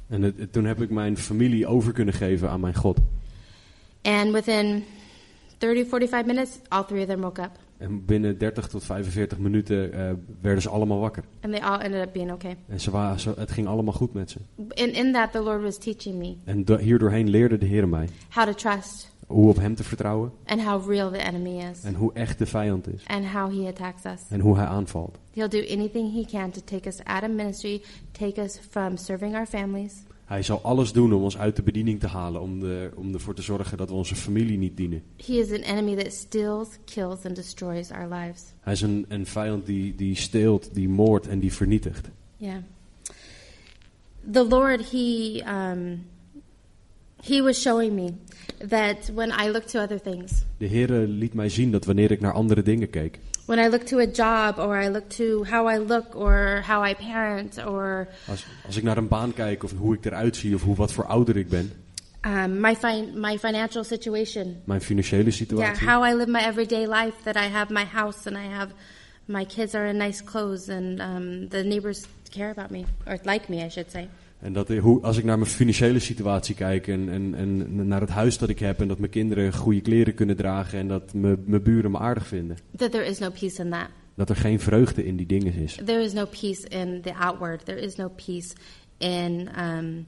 En het- het- toen heb ik mijn familie over kunnen geven aan mijn God.
And within 30, 45 minutes, all three of them woke up.
En binnen 30 tot 45 minuten eh, werden ze allemaal wakker.
And they all ended up being okay.
En ze waren, ze- het ging allemaal goed met ze.
And in that, the Lord was teaching me
En do- hierdoorheen leerde de Heer mij
how to trust
hoe op hem te vertrouwen
and how real the enemy is
en hoe echt de vijand is.
and how he attacks us.
En hoe hij aanvalt.
He'll do anything he can to take us out of ministry, take us from serving our families,
Hij zal alles doen om ons uit de bediening te halen, om, de, om ervoor te zorgen dat we onze familie niet dienen.
He is an enemy that steals, kills, and destroys our lives.
Hij is een, een vijand die, die steelt, die moordt en die vernietigt.
Yeah. The Lord, He um, He was showing me that when I look to other things,
De Heer eh, liet mij zien dat wanneer ik naar andere dingen keek,
when I look to a job, or I look to how I look, or how I parent, or
als, als ik naar een baan kijk of hoe ik eruit zie of hoe, wat voor ouder ik ben,
um, my fin- my financial situation,
mijn financiële
yeah,
situatie,
how I live my everyday life, that I have my house and I have my kids are in nice clothes and um, the neighbors care about me or like me, I should say.
En dat, eh, hoe, als ik naar mijn financiële situatie kijk en, en, en naar het huis dat ik heb en dat mijn kinderen goede kleren kunnen dragen en dat mijn mijn buren me aardig vinden.
That there is no peace in that.
Dat er geen vreugde in die dingen is.
There is no peace in the outward. There is no peace in um,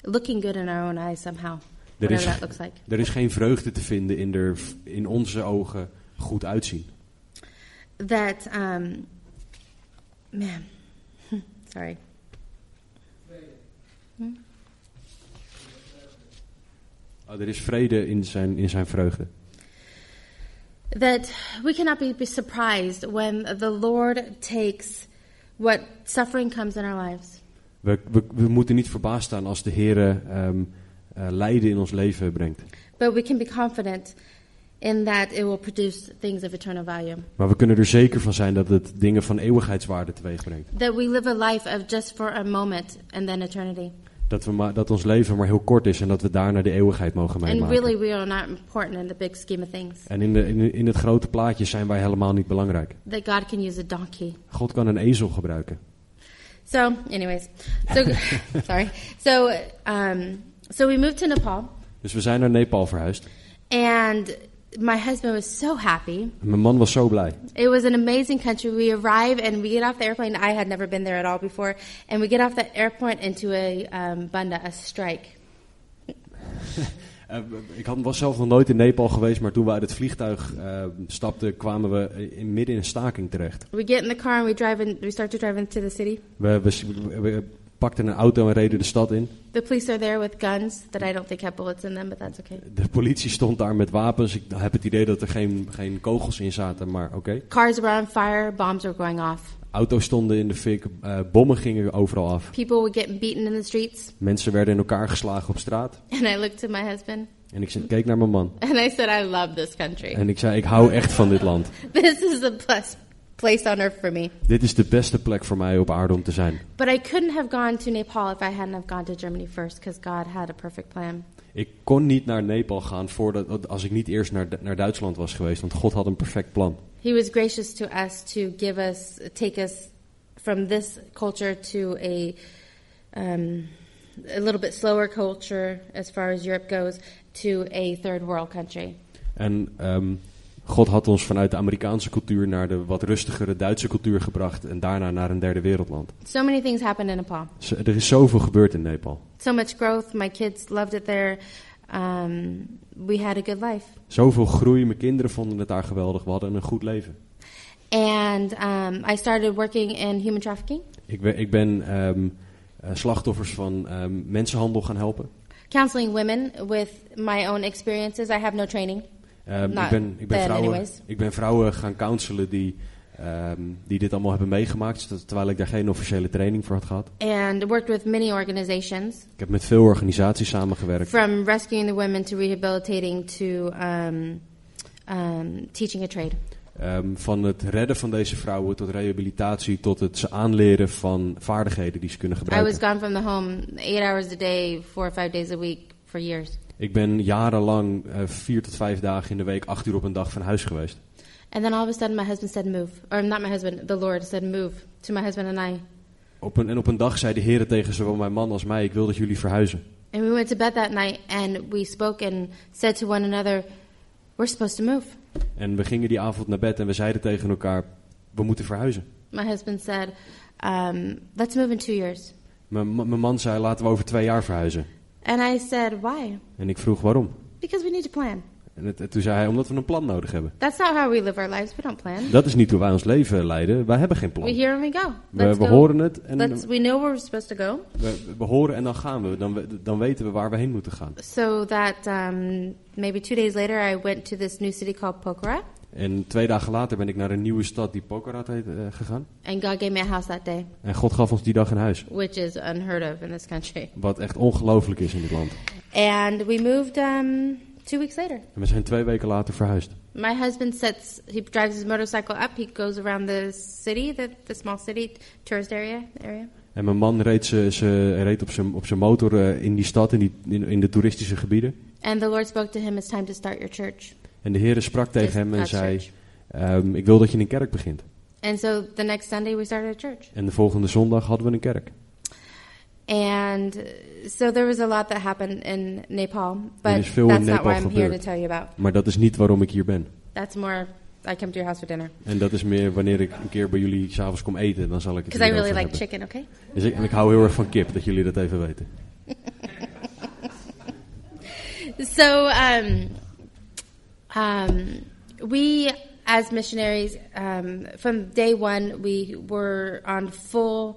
looking good in our own eyes somehow,
Er
whatever
is,
that looks like.
er is geen vreugde te vinden in er v- in onze ogen goed uitzien.
That, um, man, sorry.
Oh, er is vrede in zijn, in zijn vreugde.
That we cannot be be surprised when the Lord takes what suffering comes in our lives.
We, we, we moeten niet verbaasd staan als de Heer ehm, eh, lijden in ons leven brengt.
But we can be confident in that it will produce things of eternal value.
Maar we kunnen er zeker van zijn dat het dingen van eeuwigheidswaarde teweeg brengt.
That we live a life of just for a moment and then eternity.
Dat, we maar, dat ons leven maar heel kort is en dat we daarna de eeuwigheid mogen
And
meemaken.
really, we are not important in the big scheme of things.
En in, de, in, in het grote plaatje zijn wij helemaal niet belangrijk.
That God can use a donkey.
God kan een ezel gebruiken.
So, anyways, So, sorry. So, um, so we moved to Nepal,
Dus we zijn naar Nepal verhuisd.
and my husband was so happy.
En mijn man was zo blij.
It was an amazing country. We arrive and we get off the airplane. I had never been there at all before, and we get off the airport into a um, banda, a strike.
Eh, ik had, was zelf nog nooit in Nepal geweest, maar toen we uit het vliegtuig eh, stapten, kwamen we in, midden in een staking terecht.
We get in the car and we drive in. We start to drive into the city.
We, we, we pakten een auto en reden de stad in.
The police are there with guns that I don't think have bullets in them, but that's okay.
De politie stond daar met wapens. Ik heb het idee dat er geen, geen kogels in zaten, maar oké.
Cars were on fire. Bombs were going off.
Auto's stonden in de fik, eh, bommen gingen overal af.
People were getting beaten in the streets.
Mensen werden in elkaar geslagen op straat.
And I looked to my husband
En ik zei- keek naar mijn man.
and I said, I love this country.
En ik zei, ik hou echt van dit land.
This is the best place on earth for me.
Dit is de beste plek voor mij op aarde om te zijn.
But I couldn't have gone to Nepal if I hadn't have gone to Germany first because God had a perfect plan.
Ik kon niet naar Nepal gaan voordat, als ik niet eerst naar, naar Duitsland was geweest. Want God had een perfect plan.
He was gracious to us to give us, take us from this culture to a, um, a little bit slower culture as far as Europe goes to a third world country.
En ehm, God had ons vanuit de Amerikaanse cultuur naar de wat rustigere Duitse cultuur gebracht. En daarna naar een derde wereldland.
So many things happened in Nepal.
Z- Er is zoveel gebeurd in Nepal.
So much growth. My kids loved it there. Um, we had a good life.
Zoveel groei. Mijn kinderen vonden het daar geweldig. We hadden een goed leven.
And um, I started working in human trafficking,
Ik ben, ik ben ehm, eh, slachtoffers van ehm, mensenhandel gaan helpen.
counseling women with my own experiences. I have no training.
Ehm,
Nou,
ik, ben, ik, ben
then
vrouwen,
anyways.
ik ben vrouwen gaan counselen die, ehm, die dit allemaal hebben meegemaakt, ter- terwijl ik daar geen officiële training voor had gehad.
And worked with many organizations,
Ik heb met veel organisaties samengewerkt,
from rescuing the women to rehabilitating to um, um, teaching a trade.
Ehm, van het redden van deze vrouwen tot rehabilitatie, tot het ze aanleren van vaardigheden die ze kunnen
I was
gebruiken.
gone from the home eight hours a day, four or five days a week for years.
Ik ben jarenlang eh, vier tot vijf dagen in de week, acht uur op een dag van huis geweest.
And then all of a sudden, my husband said, "Move," or not my husband, the Lord said, "Move." To my husband and I,
Op een, en op een dag zei de heren tegen zowel mijn man als mij, ik wil dat jullie verhuizen.
And we went to bed that night and we spoke and said to one another, We're supposed to move.
En we gingen die avond naar bed en we zeiden tegen elkaar, we moeten verhuizen.
My husband said, um, Let's move in two years.
Mijn mijn man zei, laten we over twee jaar verhuizen.
And I said, Why?
En ik vroeg waarom.
Because we need to plan.
En het- het- toen zei hij, omdat we een plan nodig hebben.
That's not how we live our lives. We don't plan.
Dat is niet hoe wij ons leven leiden. Wij hebben geen
We
plan.
hear and we go.
We,
Let's
we
go.
horen het en
Let's,
we,
we know where we're supposed to go
we horen en dan gaan we. Dan, we- dan weten we waar we heen moeten gaan.
so that um, maybe two days later I went to this new city called Pokhara
En twee dagen later ben ik naar een nieuwe stad die Pokhara heet eh, gegaan.
and God gave me a house that day,
En God gaf ons die dag een huis.
which is unheard of in this country.
Wat echt ongelooflijk is in dit land.
And we moved um, two weeks later.
En we zijn twee weken later verhuisd.
My husband sets. He drives his motorcycle up. He goes around the city, the, the small city tourist area area.
En mijn man reed, ze, ze, reed op, zijn, op zijn motor eh, in die stad, in, die, in, in de toeristische gebieden.
And the Lord spoke to him. It's time to start your church.
En de Heere sprak tegen
Just
hem en
God's
zei,
church.
ehm, ik wil dat je een kerk begint.
And so the next Sunday we started a church.
En de volgende zondag hadden we een kerk.
And uh, so there was a lot that happened in Nepal,
Er
but
is
that's
veel in
not
Nepal
why I'm here
gebeurd.
to tell you about.
Maar dat is niet waarom ik hier ben.
That's more. I come to your house for dinner
En dat is meer wanneer ik een keer bij jullie s'avonds kom eten, dan zal ik het
because I
hierover
really like
hebben.
chicken. Okay.
Dus ik, en ik hou heel erg van kip, dat jullie dat even weten.
So um, um, we, as missionaries, um, from day one, we were on full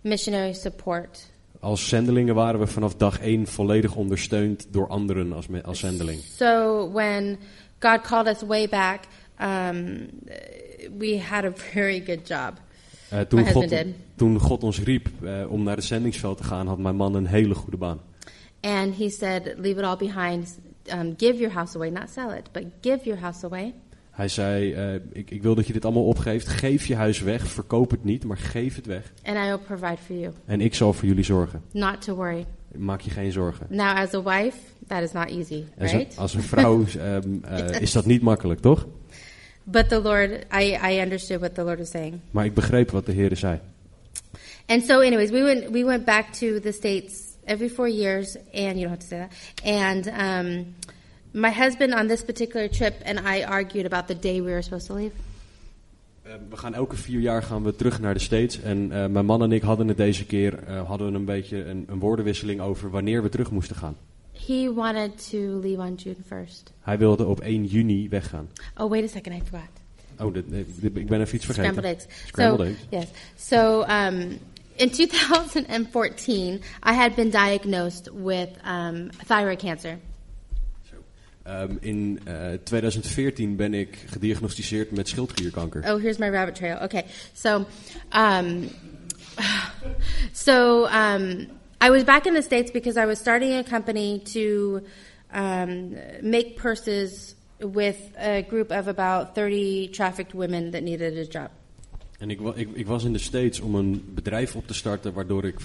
missionary support.
Als zendelingen waren we vanaf dag één volledig ondersteund door anderen als, me- als zendeling.
So when God called us way back, um, we had a very good job.
Eh, toen,
My
God,
husband did.
toen God ons riep eh, om naar het zendingsveld te gaan, had mijn man een hele goede baan.
And he said, Leave it all behind. Um, give your house away, not sell it, but give your house away.
Hij zei, eh, ik, ik wil dat je dit allemaal opgeeft. Geef je huis weg, verkoop het niet, maar geef het weg.
And I will provide for you.
En ik zal voor jullie zorgen.
Not to worry.
Maak je geen zorgen.
Now, as a wife, that is not easy,
Als
right?
een, als een vrouw ehm, eh, is dat niet makkelijk, toch?
But the Lord, I, I understood what the Lord was saying.
Maar ik begreep wat de Heer zei.
And so, anyways, we went we went back to the states every four years, and you don't have to say that. And um, my husband on this particular trip and I argued about the day we were supposed to leave.
Eh, we gaan elke vier jaar gaan we terug naar de States. En eh, mijn man en ik hadden het deze keer eh, hadden we een beetje een, een woordenwisseling over wanneer we terug moesten gaan.
He wanted to leave on June first.
Hij wilde op 1 juni weggaan.
Oh, wait a second, I forgot.
Oh, dit- dit- dit- ik ben even iets vergeten.
Scrambled eggs.
Scrambled
so,
eggs.
Yes. So um, in 2014, I had been diagnosed with um, thyroid cancer.
Ehm, in eh, 2014 ben ik gediagnosticeerd met schildklierkanker.
Oh, here's my rabbit trail. Okay, so, um, so um, I was back in the states because I was starting a company to um, make purses with a group of about 30 trafficked women that needed a job.
En ik, wa- ik, ik was in de States om een bedrijf op te starten waardoor ik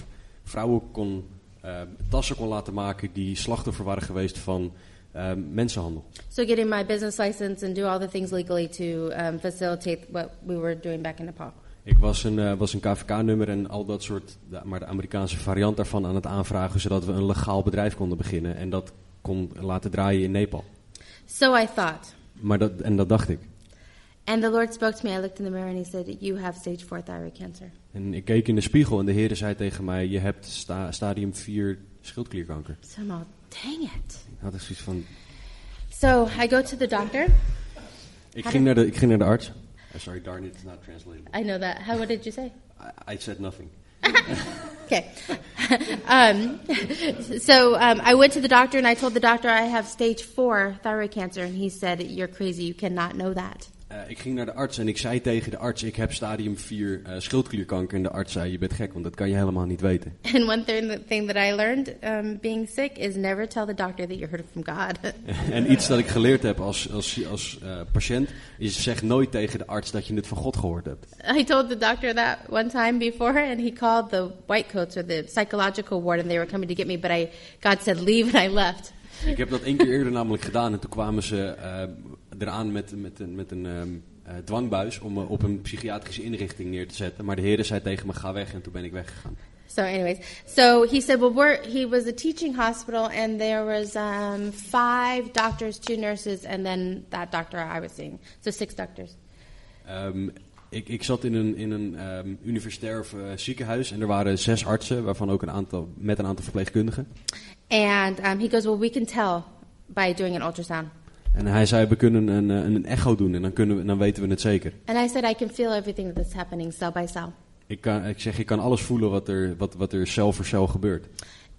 vrouwen kon, eh, tassen kon laten maken die slachtoffer waren geweest van eh, mensenhandel.
So, getting my business license and do all the things legally to um, facilitate what we were doing back in Nepal.
Ik was een, eh, was een KVK-nummer en al dat soort, de- maar de Amerikaanse variant daarvan aan het aanvragen, zodat we een legaal bedrijf konden beginnen en dat kon laten draaien in Nepal.
So I thought.
Maar dat, en dat dacht ik.
And the Lord spoke to me. I looked in the mirror and He said, You have stage four thyroid cancer.
En ik keek in de spiegel en de Heer zei tegen mij, je hebt sta- stadium 4 schildklierkanker.
So I'm all, dang it.
Ik had echt zoiets van,
So I go to the doctor.
ik ging naar de, ik ging naar de arts. Eh, sorry, darn it, it's not translatable.
I know that. How? What did you say?
I, I said nothing.
Okay. um, so um, I went to the doctor and I told the doctor I have stage four thyroid cancer, and he said, "You're crazy. You cannot know that."
Eh, ik ging naar de arts en ik zei tegen de arts, ik heb stadium 4 eh, schildklierkanker. En de arts zei, je bent gek, want dat kan je helemaal niet weten.
And one thing, thing that I learned um, being sick is never tell the doctor that you heard it from God.
En iets dat ik geleerd heb als, als, als eh, patiënt is zeg nooit tegen de arts dat je het van God gehoord hebt.
I told the doctor that one time before, and he called the white coats or the psychological ward, and they were coming to get me. But I, God said, "Leave," and I left.
Ik heb dat één keer eerder namelijk gedaan en toen kwamen ze eh, eraan met, met, een- met een ehm, eh, dwangbuis om me op een psychiatrische inrichting neer te zetten. Maar de heren zei tegen me ga weg en toen ben ik weggegaan.
So, anyways, so he said, well, we're, he was a teaching hospital, and there was um, five doctors, two nurses, and then that doctor I was seeing. So six doctors.
Ehm, ik, ik zat in een, in een ehm, universitair of, eh, ziekenhuis en er waren zes artsen, waarvan ook een aantal, met een aantal verpleegkundigen.
And um, he goes, well, we can tell by doing an ultrasound.
En hij zei we kunnen een, eh, een echo doen en dan, kunnen we, dan weten we het zeker.
And I said, I can feel everything that's happening cell by cell.
Ik, kan, ik zeg, je kan alles voelen wat er, wat, wat er cel voor cel gebeurt.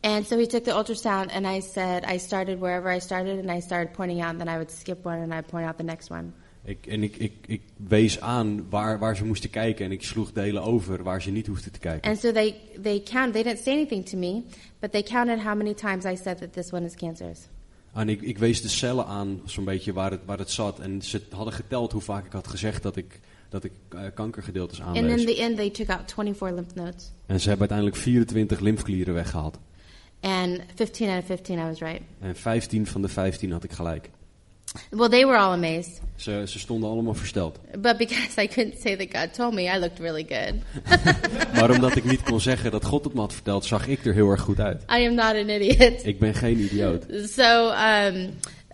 And so he took the ultrasound, and I said, I started wherever I started, and I started pointing out, and then I would skip one, and I'd point out the next one.
Ik, en ik, ik, ik wees aan waar, waar ze moesten kijken en ik sloeg delen over waar ze niet hoefden te kijken.
And so they, they count, they didn't say anything to me, but they counted how many times I said that this one is cancerous.
En ik, ik wees de cellen aan zo'n beetje waar het, waar het zat. En ze hadden geteld hoe vaak ik had gezegd dat ik, dat ik eh, kankergedeeltes
And
aanwees.
in the end, they took out 24 lymph nodes.
En ze hebben uiteindelijk 24 lymfeklieren weggehaald.
And 15 out of 15, I was right.
En 15 van de 15 had ik gelijk.
Well, they were all amazed.
Ze, ze stonden allemaal versteld.
But because I couldn't say that God told me, I looked really good.
Maar omdat ik niet kon zeggen dat God het me had verteld, zag ik er heel erg goed uit.
I am not an idiot.
Ik ben geen idioot.
So um,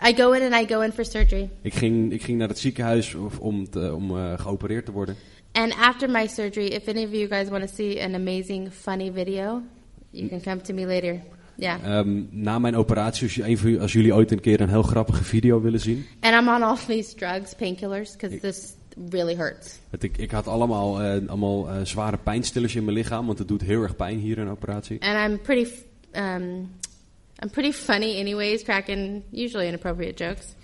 I go in and I go in for surgery.
Ik ging, ik ging naar het ziekenhuis of- om, te- om eh, geopereerd te worden.
And after my surgery, if any of you guys want to see an amazing, funny video, you can come to me later. Yeah.
Ehm, na mijn operatie, als, je- een van jullie- als jullie ooit een keer een heel grappige video willen zien.
And I'm on all these drugs, painkillers, because this really hurts.
Want ik, ik had allemaal, eh, allemaal eh, zware pijnstillers in mijn lichaam, want het doet heel erg pijn hier een operatie.
And I'm pretty, f- um, I'm pretty funny, anyways, cracking usually inappropriate jokes.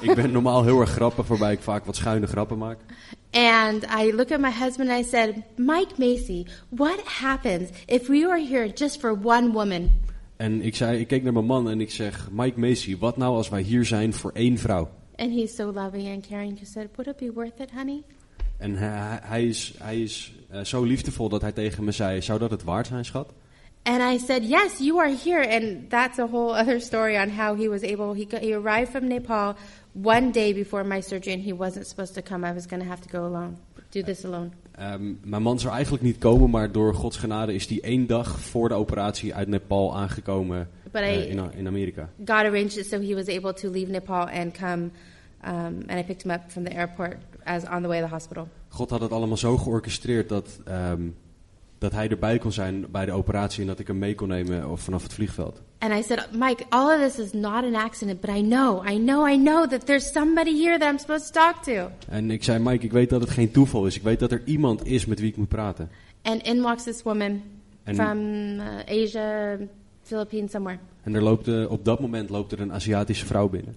ik ben normaal heel erg grappig, waarbij ik vaak wat schuine grappen maak.
And I look at my husband and I said, Mike Macy, what happens if we were here just for one woman?
En ik, zei, ik keek naar mijn man en ik zeg, Mike Macy, wat nou als wij hier zijn voor één vrouw?
And he's so loving and caring. He said, Would it be worth it, honey?
En hij, hij is, hij is eh, zo liefdevol dat hij tegen me zei, zou dat het waard zijn, schat?
And I said, Yes, you are here. And that's a whole other story on how he was able. He, got, he arrived from Nepal one day before my surgery and he wasn't supposed to come. I was going to have to go alone, do this alone.
Ehm, mijn man zou eigenlijk niet komen, maar door Gods genade is die één dag voor de operatie uit Nepal aangekomen
But
eh,
I-
in, in Amerika.
God arranged it so he was able to leave Nepal and come, um, and I picked him up from the airport as on the way to the hospital.
God had het allemaal zo georchestreerd dat, ehm, dat hij erbij kon zijn bij de operatie en dat ik hem mee kon nemen of vanaf het vliegveld.
And I said, Mike, all of this is not an accident, but I know, I know, I know that there's somebody here that I'm supposed to talk to.
En ik zei, Mike, ik weet dat het geen toeval is. Ik weet dat er iemand is met wie ik moet praten.
And in walks this woman
And-
from uh, Asia, Philippines, somewhere.
En er loopt, eh, op dat moment loopt er een Aziatische vrouw binnen.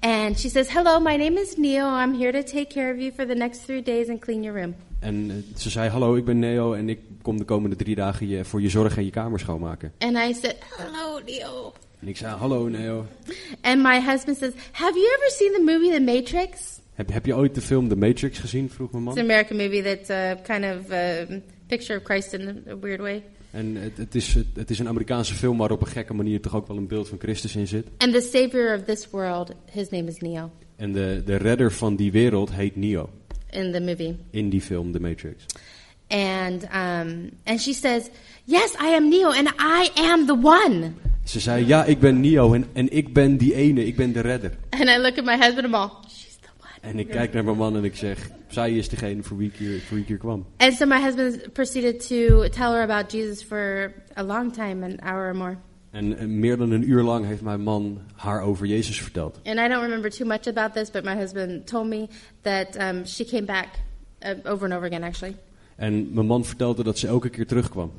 and she says, Hello, my name is Neil. I'm here to take care of you for the next three days and clean your room.
En eh, ze zei, hallo, ik ben Neo en ik kom de komende drie dagen je, voor je zorg en je kamer schoonmaken.
And I said, Hello, Neil.
En ik zei, hallo Neo,
And my husband says, Have you ever seen the movie The Matrix?
heb, heb je ooit de film The Matrix gezien, vroeg mijn
It's an
man.
American movie that's uh, kind of um picture of Christ in a weird way.
En het, het, is, het, het is een Amerikaanse film waar op een gekke manier toch ook wel een beeld van Christus in zit.
And the savior of this world, his name is Neo
En de, de redder van die wereld heet Neo.
in the movie.
In die film The Matrix.
And um, and she says, Yes, I am Neo, and I am the one.
Ze zei, ja, ik ben Neo en, en ik ben die ene, ik ben de redder.
And I look at my husband and I'm all, she's the one.
En ik kijk naar mijn man en ik zeg, zij is degene voor wie ik hier, voor wie ik hier kwam.
And so my husband proceeded to tell her about Jesus for a long time, an hour or more.
En eh, meer dan een uur lang heeft mijn man haar over Jezus verteld.
And I don't remember too much about this, but my husband told me that um, she came back uh, over and over again, actually.
En mijn man vertelde dat ze elke keer terugkwam.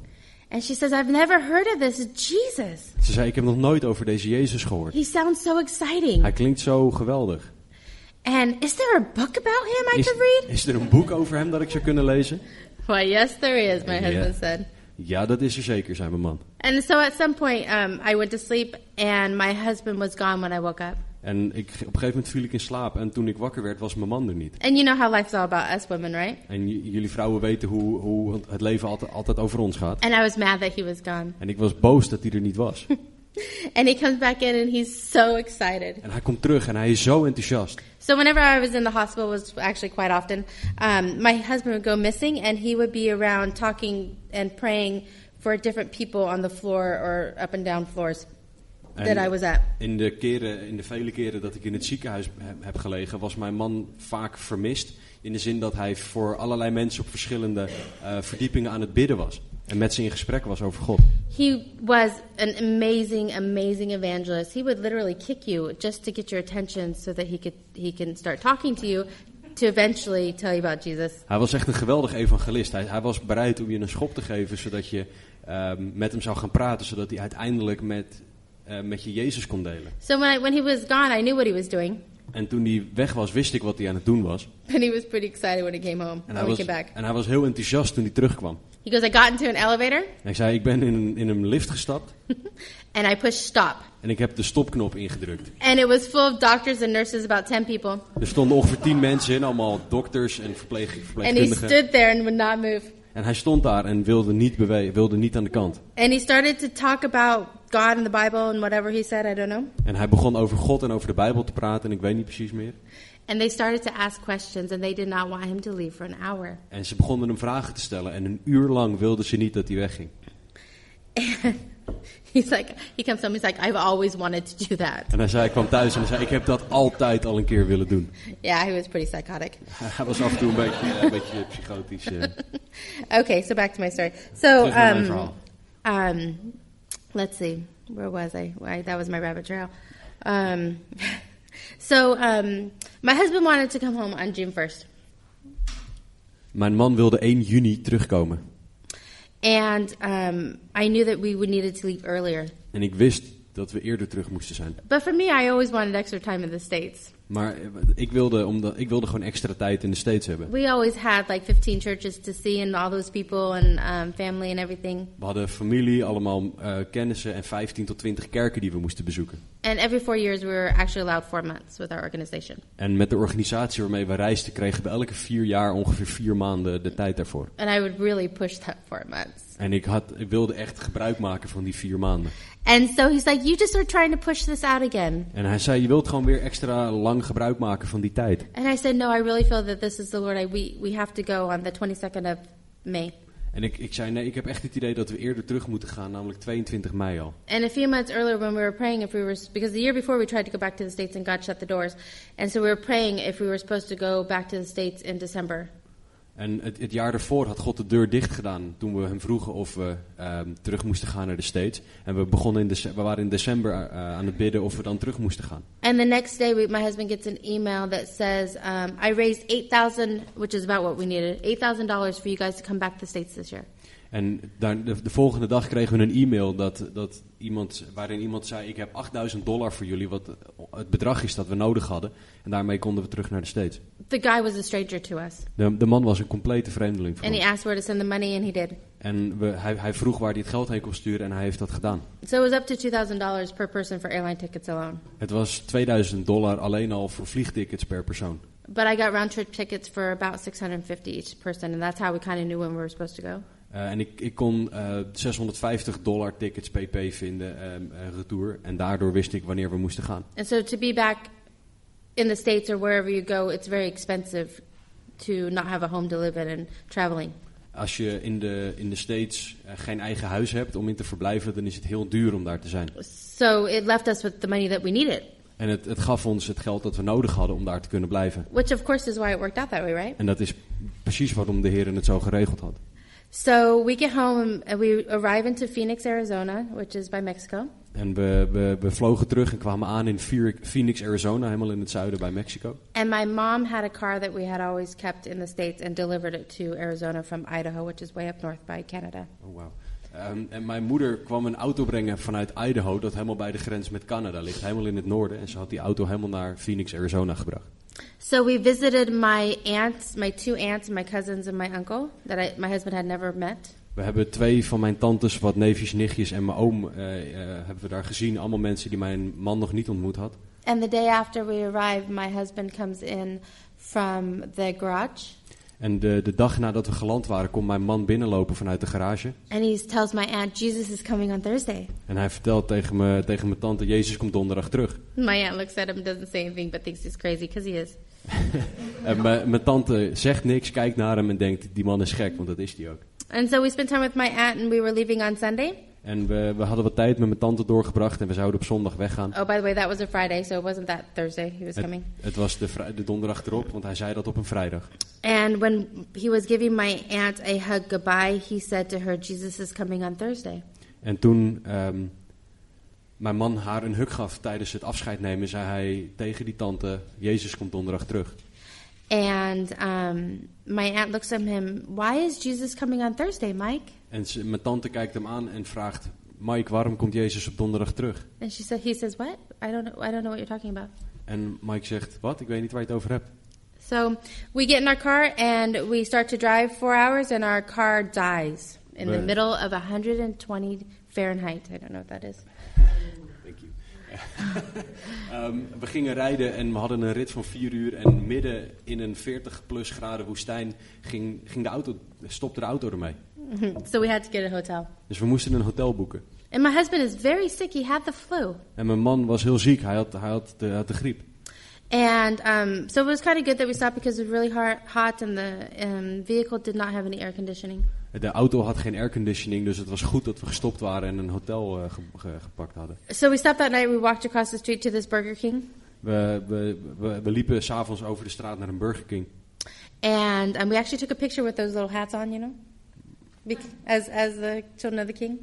And she says, I've never heard of this Jesus.
Ze zei, ik heb nog nooit over deze Jezus gehoord.
He sounds so exciting.
Hij klinkt zo geweldig.
And is there a book about him I
Is,
could read?
is er een boek over hem dat ik zou kunnen lezen?
Why, yes, there is, my
Yeah.
husband said.
Ja, dat is er zeker, zei mijn man.
And so at some point, um, I went to sleep, and my husband was gone when I woke up.
En ik, op een gegeven moment viel ik in slaap en toen ik wakker werd was mijn man er niet.
And you know how life's all about us women, right?
En j- jullie vrouwen weten hoe, hoe het leven altijd, altijd over ons gaat.
And I was mad that he was gone.
En ik was boos dat hij er niet was.
And he comes back in, and he's so excited.
En hij komt terug en hij is zo enthousiast.
So whenever I was in the hospital, was actually quite often, um, my husband would go missing, and he would be around talking and praying for different people on the floor or up and down floors that
And-
I was at.
In de, keren, in de vele keren dat ik in het ziekenhuis he- heb gelegen, was mijn man vaak vermist. In de zin dat hij voor allerlei mensen op verschillende eh, verdiepingen aan het bidden was. En met ze in gesprek was over God.
He was an amazing, amazing evangelist. He would literally kick you just to get your attention, so that he could he can start talking to you, to eventually tell you about Jesus.
Hij was echt een geweldig evangelist. Hij, hij was bereid om je een schop te geven, zodat je ehm, met hem zou gaan praten. Zodat hij uiteindelijk met, eh, met je Jezus kon delen.
So when I, when he was gone, I knew what he was doing,
En toen hij weg was, wist ik wat hij aan het doen was.
and he was pretty excited when he came home.
En
When
hij
we
was,
came back,
en hij was heel enthousiast toen hij terugkwam.
he goes, "I got into an elevator,
En ik zei, ik ben in een, in een lift gestapt
and I pushed stop."
en ik heb de stopknop ingedrukt.
And it was full of doctors and nurses, about 10 people.
Er stonden ongeveer tien mensen in, allemaal dokters en verpleeg,
And he
verpleegkundigen.
stood there and would not move.
En hij stond daar en wilde niet bewegen, wilde niet aan de kant.
And he started to talk about God and the Bible and whatever he said, I don't know.
En hij begon over God en over de Bijbel te praten en ik weet niet precies meer.
And they started to ask questions, and they did not want him to leave for an hour.
En ze begonnen hem vragen te stellen en een uur lang wilden ze niet dat hij wegging.
And he's like, he comes home, he's like, I've always wanted to do that.
En hij zei, ik kwam thuis en hij zei, ik heb dat altijd al een keer willen doen.
Yeah, he was pretty psychotic.
Hij was af en toe een beetje, eh, een beetje psychotisch. eh.
Okay, so back to my story. So,
Terug naar mijn
um,
verhaal.
um, let's see, where was I? Why that was my rabbit trail. Um, so, um, my husband wanted to come home on June first,
Mijn man wilde 1 juni terugkomen.
and um, I knew that we would needed to leave earlier.
En ik wist dat we eerder terug moesten zijn.
But for me, I always wanted extra time in the states.
Maar eh, ik wilde, omdat, ik wilde gewoon extra tijd in de States hebben.
We always had like 15 churches to see, and all those people and um, family and everything.
We hadden familie, allemaal eh, kennissen en 15 tot 20 kerken die we moesten bezoeken.
And every four years, we were actually allowed four months with our organization.
En met de organisatie waarmee we reisden kregen we elke vier jaar ongeveer vier maanden de tijd daarvoor.
And I would really push that four months.
En ik, had, ik wilde echt gebruik maken van die vier maanden.
And so he's like, You just are trying to push this out again.
En hij zei, je wilt gewoon weer extra lang lang gebruik maken van die tijd.
And I said, No, I really feel that this is the Lord. I, we, we have to go on the 22nd of May.
En ik, ik zei, nee, ik heb echt het idee dat we eerder terug moeten gaan, namelijk 22 mei al.
And a few months earlier, when we were praying, if we were, because the year before we tried to go back to the States and God shut the doors. And so we were praying if we were supposed to go back to the States in December.
En het, het jaar daarvoor had God de deur dicht gedaan toen we hem vroegen of we ehm, terug moesten gaan naar de States. En we, begonnen in dece- we waren in december eh, aan het bidden of we dan terug moesten gaan.
And the next day, we, my husband gets an email that says, um, I raised 8000 which is about what we needed, $8,000 for you guys to come back to the States this year.
En daar, de, de volgende dag kregen we een e-mail dat, dat iemand, waarin iemand zei, ik heb 8000 dollar voor jullie, wat het bedrag is dat we nodig hadden. En daarmee konden we terug naar de States.
The guy was a stranger to us.
De, de man was een complete vreemdeling voor
And he
ons.
asked where to send the money, and he did.
En we, hij, hij vroeg waar hij het geld heen kon sturen en hij heeft dat gedaan.
So it was up to $2,000 per person for airline tickets alone.
Het was 2000 dollar alleen al voor vliegtickets per persoon.
But I got round trip tickets for about 650 each person, and that's how we kind of knew when we were supposed to go.
Eh, en ik, ik kon eh, 650 dollar tickets pp vinden, ehm, eh, retour. En daardoor wist ik wanneer we moesten gaan.
And so to be back in the States or wherever you go, it's very expensive to not have a home to live in and traveling.
Als je in de, in de States eh, geen eigen huis hebt om in te verblijven, dan is het heel duur om daar te zijn.
So it left us with the money that we needed,
En het, het gaf ons het geld dat we nodig hadden om daar te kunnen blijven.
which of course is why it worked out that way, right?
En dat is precies waarom de Heer het zo geregeld had.
So we get home and we arrive into Phoenix, Arizona, which is by Mexico.
En we, we, we vlogen terug en kwamen aan in Phoenix- Phoenix, Arizona, helemaal in het zuiden bij Mexico.
And my mom had a car that we had always kept in the States and delivered it to Arizona from Idaho, which is way up north by Canada.
Oh, wauw. Ehm, en mijn moeder kwam een auto brengen vanuit Idaho, dat helemaal bij de grens met Canada ligt, helemaal in het noorden. En ze had die auto helemaal naar Phoenix, Arizona gebracht.
So we visited my aunts, my two aunts, my cousins, and my uncle that I, my husband had never met.
We hebben twee van mijn tantes, wat neefjes, nichtjes en mijn oom, eh, eh, hebben we daar gezien. Allemaal mensen die mijn man nog niet ontmoet had.
And the day after we arrived, my husband comes in from the garage
En de, de dag nadat we geland waren, komt mijn man binnenlopen vanuit de garage.
and he tells my aunt, Jesus is coming on Thursday.
En hij vertelt tegen, me, tegen mijn tante, Jezus komt donderdag terug.
My aunt looks at him, doesn't say anything, but thinks he's crazy because he is.
En mijn, mijn tante zegt niks, kijkt naar hem en denkt, die man is gek, want dat is hij ook.
And so we spent time with my aunt and we were leaving on Sunday.
En we, we hadden wat tijd met mijn tante doorgebracht en we zouden op zondag weggaan.
Oh, by the way, that was a Friday, so it wasn't that Thursday he was
Het,
coming.
het was de, vrij- de donderdag erop, want hij zei dat op een vrijdag.
And when he was giving my aunt a hug goodbye, he said to her, Jesus is coming on Thursday.
En toen ehm, mijn man haar een huk gaf tijdens het afscheid nemen, zei hij tegen die tante: Jezus komt donderdag terug.
And um, my aunt looks at him, Why is Jesus coming on Thursday, Mike?
En ze- mijn tante kijkt hem aan en vraagt: Mike, waarom komt Jezus op donderdag terug?
And she said, He says, What? I don't know, I don't know what you're talking about.
En Mike zegt: Wat? Ik weet niet waar je het over hebt.
So we get in our car and we start to drive four hours, and our car dies in the
Right.
middle of 120 Fahrenheit. I don't know what that is.
Thank you. Ehm, we gingen rijden en we hadden een rit van vier uur. En midden in een 40-plus graden woestijn ging, ging de auto, stopte de auto ermee.
so we had to get a hotel.
Dus we moesten een hotel boeken.
And my husband is very sick. He had the flu.
En mijn man was heel ziek, hij had, hij had, de, had de griep.
And um, so it was kind of good that we stopped because it was really hard, hot and the um, vehicle did not have any air conditioning.
De auto had geen airconditioning, dus het was goed dat we gestopt waren en een hotel eh, ge- ge- gepakt hadden.
So we stopped that night. We walked across the street to this Burger King.
We, we, we, we liepen s'avonds over de straat naar een Burger King.
And um, we actually took a picture with those little hats on, you know, Bec- as, as the children of the king.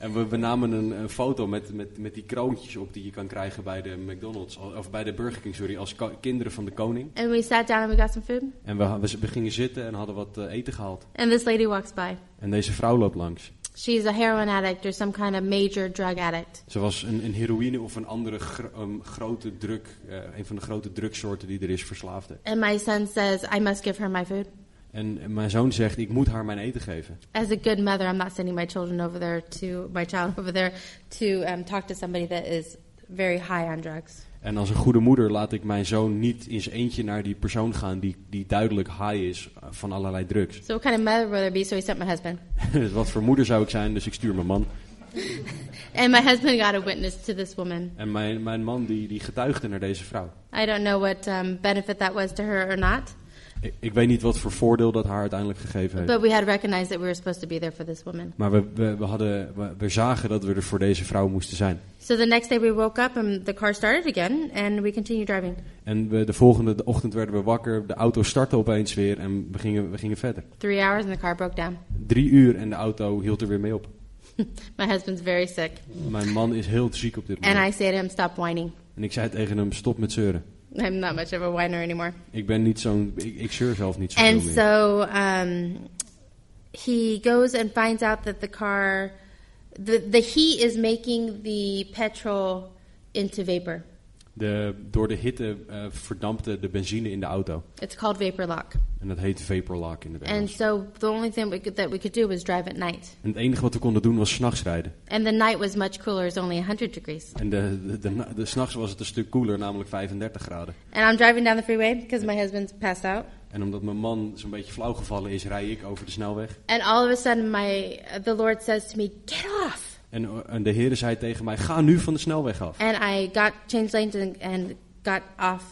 En we, we namen een, een foto met, met, met die kroontjes op die je kan krijgen bij de McDonald's, al- of bij de Burger King, sorry, als ka- kinderen van de koning.
And we sat down and we got some food.
En we, we, we gingen zitten en hadden wat eh, eten gehaald.
And this lady walks by.
En deze vrouw loopt langs.
She's a heroin addict or some kind of major drug addict.
Ze was een, een heroïne of een andere gro- ehm, grote druk, eh, een van de grote drugsoorten die er is, verslaafde.
And my son says, I must give her my food.
En en mijn zoon zegt, ik moet haar mijn eten geven.
As a good mother, I'm not sending my children over there to, my child over there to um, talk to somebody that is very high on drugs.
En als een goede moeder laat ik mijn zoon niet in zijn eentje naar die persoon gaan die, die duidelijk high is eh, van allerlei drugs.
So what kind of mother would I be? So he sent my husband.
Dus Wat voor moeder zou ik zijn, dus ik stuur mijn man.
And my husband got a witness to this woman.
En mijn, mijn man die, die getuigde naar deze vrouw.
I don't know what um, benefit that was to her or not,
Ik, ik weet niet wat voor voordeel dat haar uiteindelijk gegeven heeft.
but we had recognized that we were supposed to be there for this woman.
Maar we, we, we, hadden, we, we zagen dat we er voor deze vrouw moesten zijn.
So the next day we woke up and the car started again, and we continued driving.
En we, de volgende ochtend werden we wakker. De auto startte opeens weer en we gingen, we gingen verder.
Three hours and the car broke down.
Drie uur en de auto hield er weer mee op.
my husband's very sick,
Mijn man is heel ziek op dit
and I
moment.
say to him, "Stop whining."
En ik zei tegen hem, stop met zeuren.
I'm not much of a whiner anymore.
Ik ben niet zo'n... Ik, ik zeur zelf niet zo veel
And
meer.
so um, he goes and finds out that the car, the, the heat is making the petrol into vapor.
De, door de hitte eh, verdampte de benzine in de auto.
It's called vapor lock.
En dat heet Vaporlock in het
And
Engels.
so the only thing we could, that we could do was drive at night.
En het enige wat we konden doen was s'nachts rijden.
And the night was much cooler, it was only 100 degrees.
En de, de, de, na- de, s'nachts was het een stuk koeler, namelijk 35 graden.
And I'm driving down the freeway because my husband's passed out.
En omdat mijn man zo'n beetje flauw gevallen is, rij ik over de snelweg.
And all of a sudden, my the Lord says to me, Get off!
En, eh, en de heren zei tegen mij, ga nu van de snelweg af.
And I got changed lanes and, and got off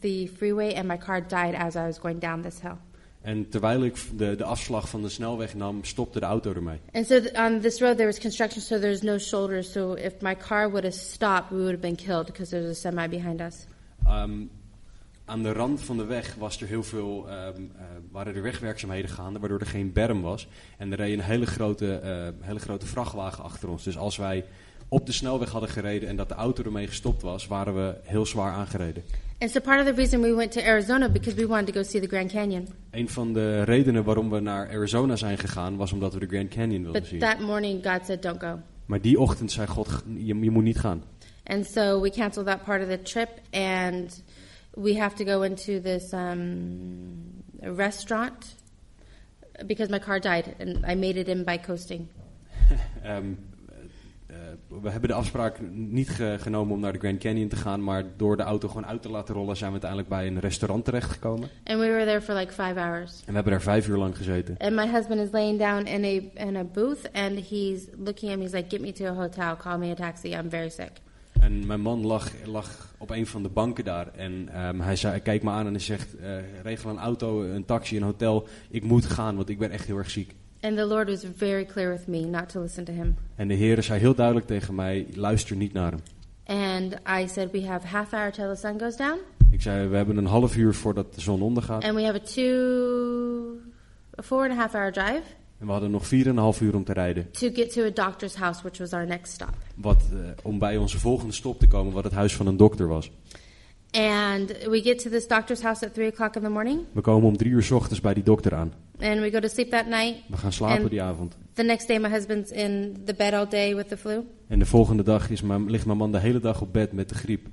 the freeway, and my car died as I was going down this hill.
En terwijl ik de, de afslag van de snelweg nam, stopte de auto ermee.
And so th- on this road there was construction, so there's no shoulders. So if my car would have stopped, we would have been killed because there's a semi behind us.
Ehm, aan de rand van de weg was er heel veel, ehm, eh, waren er wegwerkzaamheden gaande, waardoor er geen berm was. En er reed een hele grote, eh, hele grote vrachtwagen achter ons. Dus als wij op de snelweg hadden gereden en dat de auto ermee gestopt was, waren we heel zwaar aangereden.
And so part of the reason we went to Arizona because we wanted to go see the Grand Canyon.
Een van de redenen waarom we naar Arizona zijn gegaan, was omdat we de Grand Canyon wilden
But
zien.
that morning God said, "Don't go."
Maar die ochtend zei God, je, je moet niet gaan.
And so we canceled that part of the trip, and we have to go into this um, restaurant because my car died, and I made it in by coasting.
Ehm, eh, eh, we hebben de afspraak niet ge- genomen om naar de Grand Canyon te gaan, maar door de auto gewoon uit te laten rollen zijn we uiteindelijk bij een restaurant terechtgekomen.
And we were there for like five hours.
En we hebben daar vijf uur lang gezeten.
And my husband is laying down in a in a booth, and he's looking at me. He's like, "Get me to a hotel. Call me a taxi. I'm very sick."
En mijn man lag, lag op een van de banken daar en ehm, hij, zei, hij kijkt me aan en hij zegt, eh, regel een auto, een taxi, een hotel, ik moet gaan, want ik ben echt heel erg ziek.
And the Lord was very clear with me not to listen to him.
En de Heer zei heel duidelijk tegen mij, luister niet naar hem.
And I said, "We have half hour till the sun goes down,
Ik zei, we hebben een half uur voordat de zon ondergaat
and we have a two, a four and a half hour drive
en we hadden nog vier en een half uur om te rijden.
to get to a doctor's house, which was our next stop."
Wat, eh, om bij onze volgende stop te komen, wat het huis van een dokter was.
And we get to this doctor's house at three o'clock in the morning,
We komen om drie uur 's ochtends bij die dokter aan.
and we go to sleep that night.
We gaan slapen
En-
die avond.
The next day, my husband's in the bed all day with the flu.
En de volgende dag is mijn, ligt mijn man de hele dag op bed met de griep.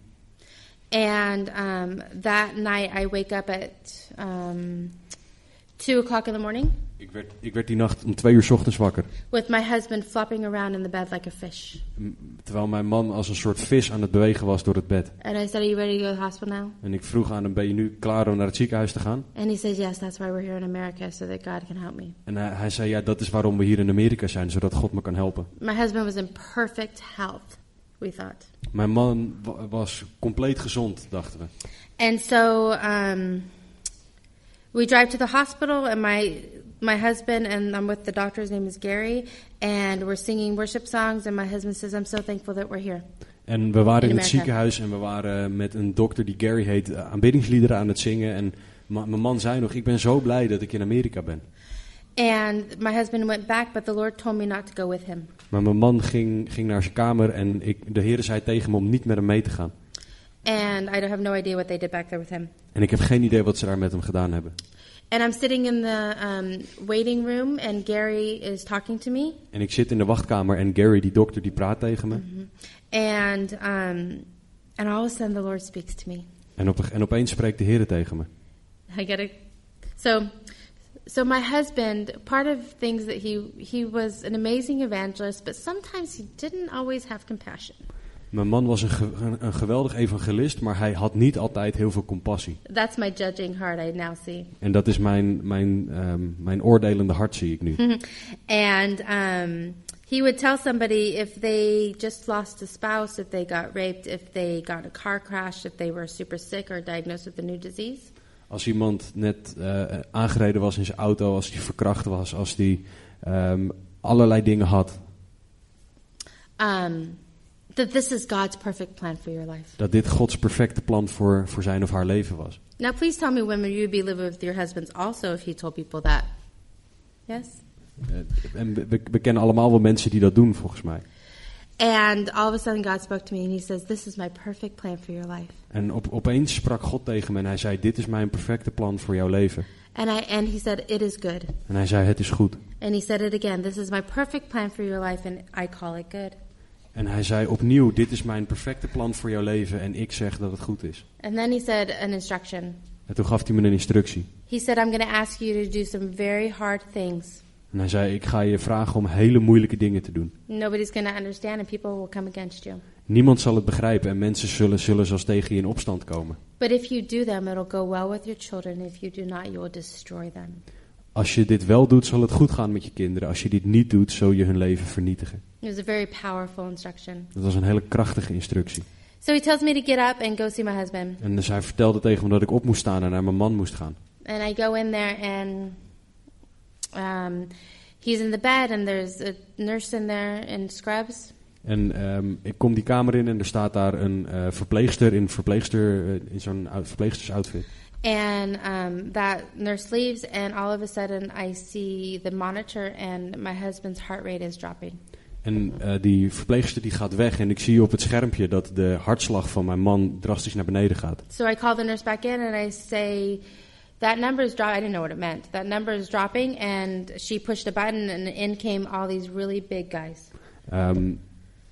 And um, that night, I wake up at um, two o'clock in the morning
Ik werd, ik werd die nacht om twee uur 's ochtends wakker.
with my husband flopping around in the bed like a fish.
M- Terwijl mijn man als een soort vis aan het bewegen was door het bed.
And I said, "Are you ready to go to the hospital now?"
En ik vroeg aan hem, ben je nu klaar om naar het ziekenhuis te gaan?
And he says, "Yes, that's why we're here in America, so that God can help me."
En hij, hij zei, ja, dat is waarom we hier in Amerika zijn, zodat God me kan helpen.
My husband was in perfect health, we thought.
Mijn man wa- was compleet gezond, dachten we.
And so um, we drive to the hospital, and my my husband and I'm with the doctor. His name is Gary, and we're singing worship songs. And my husband says, "I'm so thankful that we're here."
En we waren in,
In
het
Amerika.
ziekenhuis en we waren met een dokter die Gary heet eh, aanbiddingsliederen aan het zingen. En ma- mijn man zei nog, ik ben zo blij dat ik in Amerika ben.
And my husband went back, but the Lord told me not to go with him.
Maar mijn man ging, ging naar zijn kamer en ik, de heren zei tegen me om niet met hem mee te gaan.
And I don't have no idea what they did back there with him.
En ik heb geen idee wat ze daar met hem gedaan hebben.
And I'm sitting in the um, waiting room, and Gary is talking to me.
En ik zit in de wachtkamer en Gary, die dokter, die praat tegen me.
And, um, and all of a sudden, the Lord speaks to me.
en, op, en opeens spreekt de heren tegen me.
I get it. So, so my husband, part of things that he, he was an amazing evangelist, but sometimes he didn't always have compassion.
Mijn man was een, ge- een, een geweldig evangelist, maar hij had niet altijd heel veel compassie.
That's my judging heart, I now see.
En dat is mijn, mijn, ehm, mijn oordelende hart, zie ik nu.
and um, He would tell somebody if they just lost a spouse, if they got raped, if they got in a car crash, if they were super sick or diagnosed with a new disease.
Als iemand net eh, aangereden was in zijn auto, als hij verkracht was, als hij ehm, allerlei dingen had,
Um, that this is God's perfect plan for your life.
dat dit Gods perfecte plan voor, voor zijn of haar leven was.
Now, please tell me, women, you would be living with your husbands also if you told people that. Yes?
Eh, en we- we, we kennen allemaal wel mensen die dat doen, volgens mij.
And all of a sudden, God spoke to me and He says, This is my perfect plan for your life.
En op, opeens sprak God tegen me en hij zei, dit is mijn perfecte plan voor jouw leven.
And, I, and He said, It is good.
En hij zei, het is goed.
And He said it again, This is my perfect plan for your life, and I call it good.
En hij zei opnieuw, dit is mijn perfecte plan voor jouw leven en ik zeg dat het goed is.
And then He said an instruction.
En toen gaf hij me een instructie.
He said, I'm going to ask you to do some very hard things.
En hij zei, ik ga je vragen om hele moeilijke dingen te doen.
Nobody's going to understand, and people will come against you.
Niemand zal het begrijpen en mensen zullen, zullen zelfs tegen je in opstand komen.
But if you do them, it'll go well with your children. If you do not, you will destroy them.
Als je dit wel doet, zal het goed gaan met je kinderen. Als je dit niet doet, zul je hun leven vernietigen.
It was a very powerful instruction.
Dat was een hele krachtige instructie.
So he tells me to get up and go see my husband.
En dus hij vertelde tegen me dat ik op moest staan en naar mijn man moest gaan.
And I go in there, and um, he's in the bed, and there's a nurse in there in scrubs.
En ehm, ik kom die kamer in en er staat daar een eh, verpleegster in, verpleegster, eh, in zo'n ou- verpleegstersoutfit.
And um, that nurse leaves, and all of a sudden, I see the monitor, and my husband's heart rate is dropping.
En eh, die verpleegster die gaat weg en ik zie op het schermpje dat de hartslag van mijn man drastisch naar beneden gaat.
So I call the nurse back in, and I say, That number is dropping. I didn't know what it meant. That number is dropping, and she pushed a button, and in came all these really big guys.
Ehm,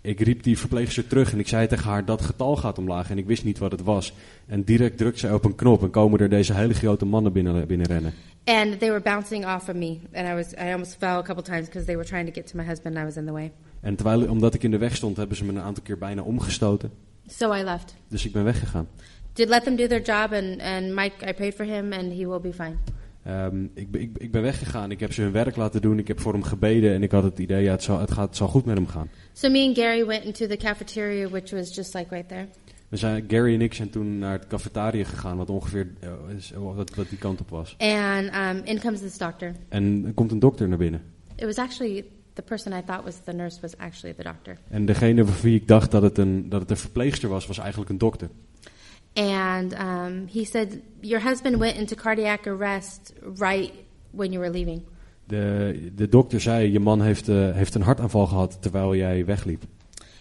ik riep die verpleegster terug en ik zei tegen haar dat getal gaat omlaag en ik wist niet wat het was. En direct drukt zij op een knop en komen er deze hele grote mannen binnen, binnenrennen.
And they were bouncing off of me, and I was I almost fell a couple times because they were trying to get to my husband, and I was in the way.
En terwijl, omdat ik in de weg stond hebben ze me een aantal keer bijna omgestoten.
So I left.
Dus ik ben weggegaan.
Did let them do their job, and and Mike, I prayed for him, and he will be fine.
Ehm, ik, ben- ik, ik ben weggegaan, ik heb ze hun werk laten doen, ik heb voor hem gebeden en ik had het idee, ja, het zal, het gaat, het zal goed met hem gaan.
So me and Gary went into the cafeteria, which was just like right there.
We zijn, Gary en ik zijn toen naar het cafetaria gegaan, wat ongeveer eh, is- wat, wat die kant op was.
And um, in comes this doctor.
En er komt een dokter naar binnen.
It was actually the person I thought was the nurse was actually the doctor.
En degene van wie ik dacht dat het, een, dat het een verpleegster was, was eigenlijk een dokter.
And um, he said, Your husband went into cardiac arrest right when you were leaving.
De, de dokter zei, je man heeft, eh, heeft een hartaanval gehad terwijl jij wegliep.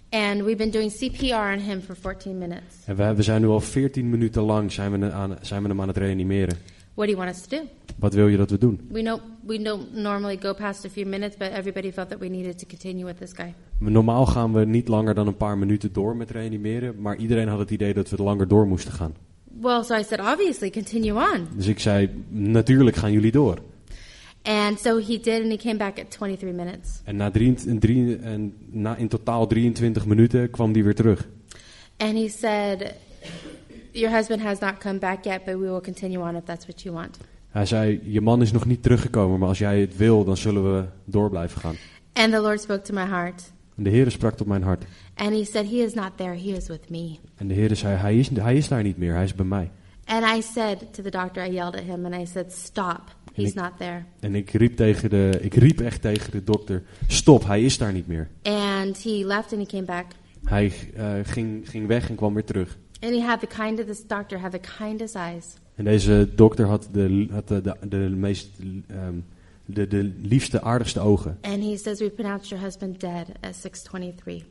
And we've been doing CPR on him for 14 minutes.
En we, we zijn nu al 14 minuten lang zijn we, aan, zijn we hem aan het reanimeren.
What do you want us to do?
Wat wil je dat we doen?
We know we don't normally go past a few minutes, but everybody felt that we needed to continue with this guy.
Normaal gaan we niet langer dan een paar minuten door met reanimeren, maar iedereen had het idee dat we langer door moesten gaan.
Well, so I said, obviously, continue on.
Dus ik zei, natuurlijk gaan jullie door.
And so he did, and he came back at 23 minutes.
En na, drie, en drie- en na in totaal 23 minuten kwam die weer terug.
And he said, Your husband has not come back yet, but we will continue on if that's what you want.
Hij zei, je man is nog niet teruggekomen, maar als jij het wil, dan zullen we door blijven gaan.
And the Lord spoke to my heart,
En de Heere sprak tot mijn hart.
and he said, He is not there, he is with me.
En de Heere zei, hij is, hij is daar niet meer, hij is bij mij.
And I said to the doctor, I yelled at him, and I said, Stop, he's not there.
En ik riep, tegen de, ik riep echt tegen de dokter, stop, hij is daar niet meer.
And he left and he came back.
Hij eh, ging, ging weg en kwam weer terug.
And he had the kind of this doctor had the kindest eyes.
En deze dokter had de, had de, de, de meest, ehm, de, de liefste, aardigste ogen.
And he says, We pronounced your husband dead at six twenty three.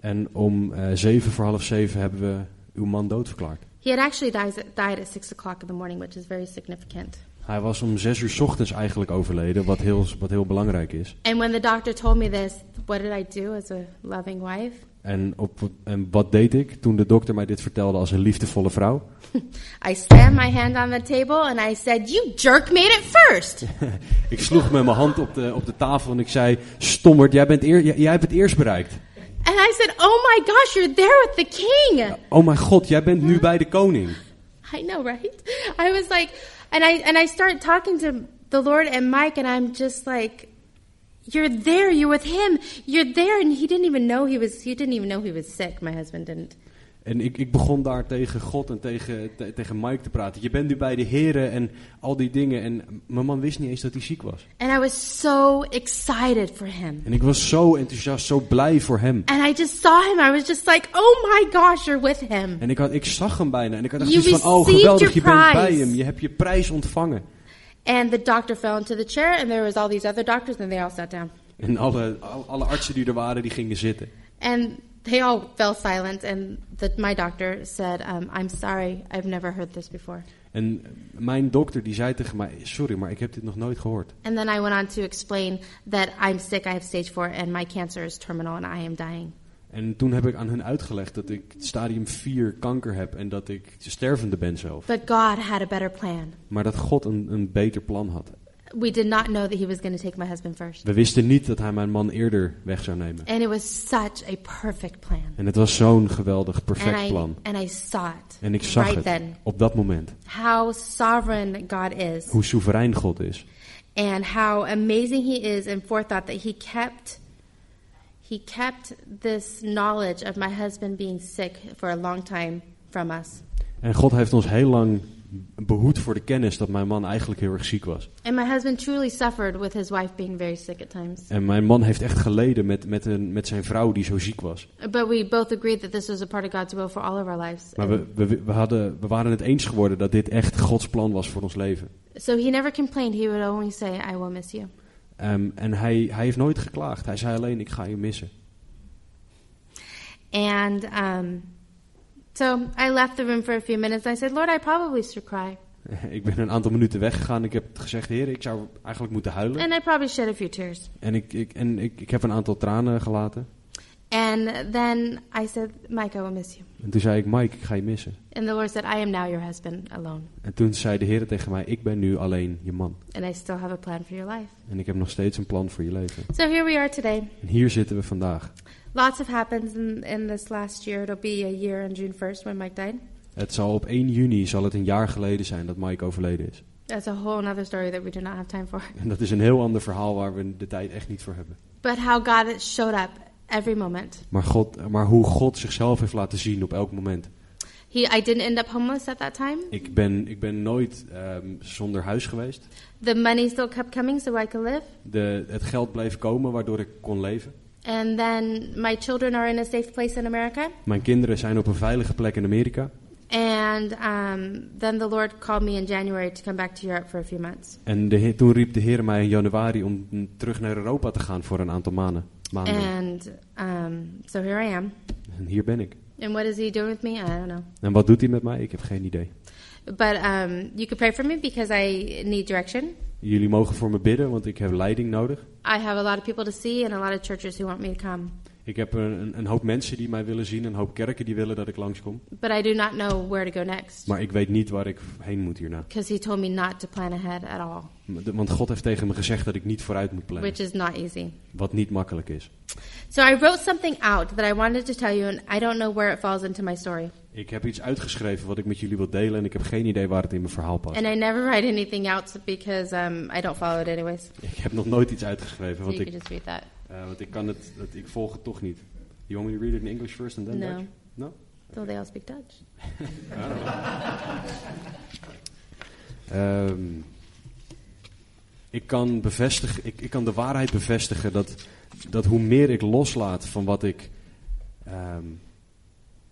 En om eh, zeven voor half zeven hebben we uw man doodverklaard.
He had actually dies, died at six o'clock in the morning, which is very significant.
Hij was om zes uur 's ochtends eigenlijk overleden, wat heel, wat heel belangrijk is.
And when the doctor told me this, what did I do as a loving wife?
En, op, en wat deed ik toen de dokter mij dit vertelde als een liefdevolle vrouw?
I slammed my hand on the table and I said, You jerk made it first.
ik sloeg met mijn hand op de, op de tafel en ik zei... Stommerd, jij, bent eer, jij, jij hebt het eerst bereikt.
And I said, Oh my gosh, you're there with the king.
Oh mijn god, jij bent nu bij de koning.
I know, right? I was like, and I and I start talking to the Lord and Mike, and I'm just like, You're there. You're with him. You're there, and he didn't even know he was. He didn't even know he was sick. My husband didn't.
En ik, ik begon daar tegen God en tegen, te- tegen Mike te praten. Je bent nu bij de heren en al die dingen. En mijn man wist niet eens dat hij ziek was.
And I was so excited for him.
En ik was zo enthousiast, zo blij voor hem.
And I just saw him. I was just like, oh my gosh, you're with him.
En ik, had, ik zag hem bijna. En ik had echt
You
zoiets van, oh
received
geweldig,
your
je bent bij
prize.
hem. Je hebt je prijs ontvangen.
And the doctor fell into the chair, and there was all these other doctors, and they all sat down.
En alle, al- alle artsen die er waren, die gingen zitten.
And they all fell silent. And the, my doctor said, um, I'm sorry, I've never heard this before.
En mijn dokter die zei tegen mij, sorry, maar ik heb dit nog nooit gehoord.
And then I went on to explain that I'm sick, I have stage four, and my cancer is terminal, and I am dying.
En toen heb ik aan hun uitgelegd dat ik stadium 4 kanker heb en dat ik stervende ben zelf.
But God had a better plan.
Maar dat God een, een beter plan had.
We did not know that He was going to take my husband first.
We wisten niet dat hij mijn man eerder weg zou nemen.
And it was such a perfect plan.
En het was zo'n geweldig,
And
perfect
I,
plan.
and I saw it
En ik zag
right
het
then
op dat moment.
how sovereign God is
Hoe soeverein God is.
and how amazing He is in forethought that He kept He kept this knowledge of my husband being sick for a long time from us.
En God heeft ons heel lang behoed voor de kennis dat mijn man eigenlijk heel erg ziek was.
And my husband truly suffered with his wife being very sick at times.
En mijn man heeft echt geleden met, met, een, met zijn vrouw die zo ziek was.
But we both agreed that this was a part of God's will for all of our lives.
Maar we, we, we, hadden, we waren het eens geworden dat dit echt Gods plan was voor ons leven.
So he never complained. He would only say, I will miss you.
Ehm, en hij, hij heeft nooit geklaagd. Hij zei alleen, ik ga je missen.
And um, so I left the room for a few minutes. I said, Lord, I probably should cry.
Ik ben een aantal minuten weggegaan. Ik heb gezegd, heer, ik zou eigenlijk moeten huilen.
And I probably shed a few tears.
En, ik, ik, en ik, ik heb een aantal tranen gelaten.
And then I said, Mike, I will miss you.
En toen zei ik, Mike, ik ga je missen.
And the Lord said, I am now your husband alone.
En toen zei de heer tegen mij, ik ben nu alleen je man.
And I still have a plan for your life.
En ik heb nog steeds een plan voor je leven.
So here we are today.
En hier zitten we vandaag.
Lots have happened in, in this last year. It'll be a year on June 1st when Mike died.
Het zal op 1 juni, zal het een jaar geleden zijn dat Mike overleden is.
That's a whole other story that we do not have time for.
En dat is een heel ander verhaal waar we de tijd echt niet voor hebben.
But how God showed up every moment.
Maar, God, maar hoe God zichzelf heeft laten zien op elk moment.
He, I didn't end up homeless at that time.
Ik ben, ik ben nooit ehm, zonder huis geweest.
The money still kept coming so I could live.
De, het geld bleef komen waardoor ik kon leven.
And then my children are in a safe place in America.
Mijn kinderen zijn op een veilige plek in Amerika.
And um, then the Lord called me in January to come back to Europe for a few months.
En de heer- toen riep de Heer mij in januari om mm, terug naar Europa te gaan voor een aantal maanden. maanden.
And um, so here I am.
En hier ben ik.
And what is He doing with me? I don't know.
En wat doet hij met mij? Ik heb geen idee.
But um, you could pray for me because I need direction.
Jullie mogen voor me bidden, want ik heb leiding nodig.
I have a lot of people to see and a lot of churches who want me to come.
Ik heb een, een- een hoop mensen die mij willen zien, een hoop kerken die willen dat ik langskom.
But I do not know where to go next
Maar ik weet niet waar ik heen moet hierna.
because He told me not to plan ahead at all,
M- de- Want God heeft tegen me gezegd dat ik niet vooruit moet plannen.
which is not easy.
Wat niet makkelijk is.
So I wrote something out that I wanted to tell you, and I don't know where it falls into my story.
Ik heb iets uitgeschreven wat ik met jullie wil delen en ik heb geen idee waar het in mijn verhaal past.
And I never write anything out because um, I don't follow it anyways.
Ik heb nog nooit iets uitgeschreven,
So
want
you
ik,
can just read that.
eh, want ik kan het, het- ik volg het toch niet. You want me to read it in English first and then
No.
Dutch? No?
So they all speak Dutch.
Ehm, ik, kan bevestigen, ik, ik kan de waarheid bevestigen dat, dat hoe meer ik loslaat van wat ik, ehm,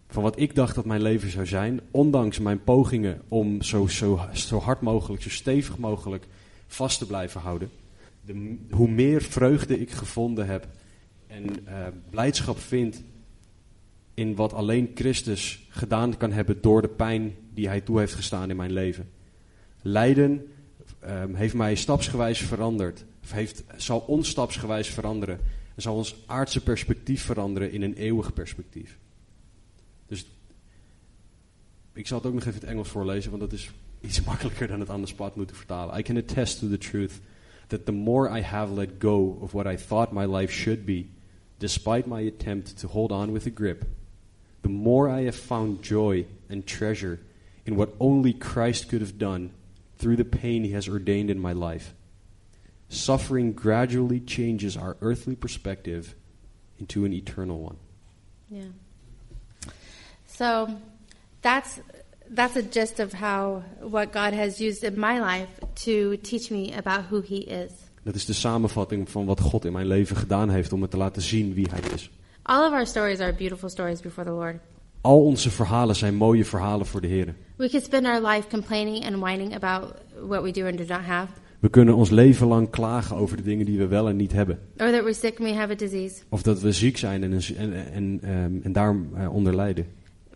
van wat ik dacht dat mijn leven zou zijn, ondanks mijn pogingen om zo, zo, zo hard mogelijk, zo stevig mogelijk vast te blijven houden, de, m- hoe meer vreugde ik gevonden heb en eh, blijdschap vind in wat alleen Christus gedaan kan hebben door de pijn die hij toe heeft gestaan in mijn leven. Lijden ehm, heeft mij stapsgewijs veranderd. Of heeft, zal ons stapsgewijs veranderen. En zal ons aardse perspectief veranderen in een eeuwig perspectief. Dus ik zal het ook nog even in het Engels voorlezen, want dat is iets makkelijker dan het aan de spot moeten vertalen. I can attest to the truth that the more I have let go of what I thought my life should be, despite my attempt to hold on with a grip, the more I have found joy and treasure in what only Christ could have done through the pain he has ordained in my life. Suffering gradually changes our earthly perspective into an eternal one.
Yeah. So that's that's a gist of how what God has used in my life to teach me about who He is.
Dat is de samenvatting van wat God in mijn leven gedaan heeft om me te laten zien wie Hij is.
All of our stories are beautiful stories before the Lord.
Al onze verhalen zijn mooie verhalen voor de Heer.
We could spend our life complaining and whining about what we do and do not have,
We kunnen ons leven lang klagen over de dingen die we wel en niet hebben.
or that we're sick and we have a disease.
Of dat we ziek zijn en, een- en, en, ehm, en daarom eh, onder lijden.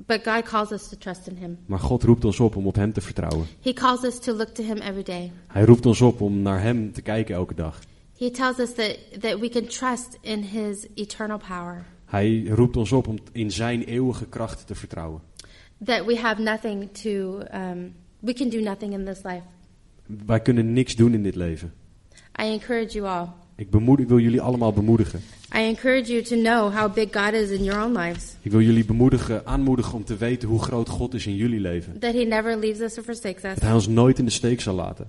But God calls us to trust in Him.
Maar God roept ons op om op Hem te vertrouwen.
He calls us to look to Him every day.
Hij roept ons op om naar Hem te kijken elke dag.
He tells us that, that we can trust in His eternal power,
Hij roept ons op om in Zijn eeuwige kracht te vertrouwen.
that we have nothing to, um, we can do nothing in this life.
Wij kunnen niks doen in dit leven.
I encourage you all.
Ik, bemoed, ik wil jullie allemaal bemoedigen.
I encourage you to know how big God is in your own lives,
Ik wil jullie bemoedigen, aanmoedigen om te weten hoe groot God is in jullie leven.
that He never leaves us or forsakes us.
Dat Hij ons nooit in de steek zal laten.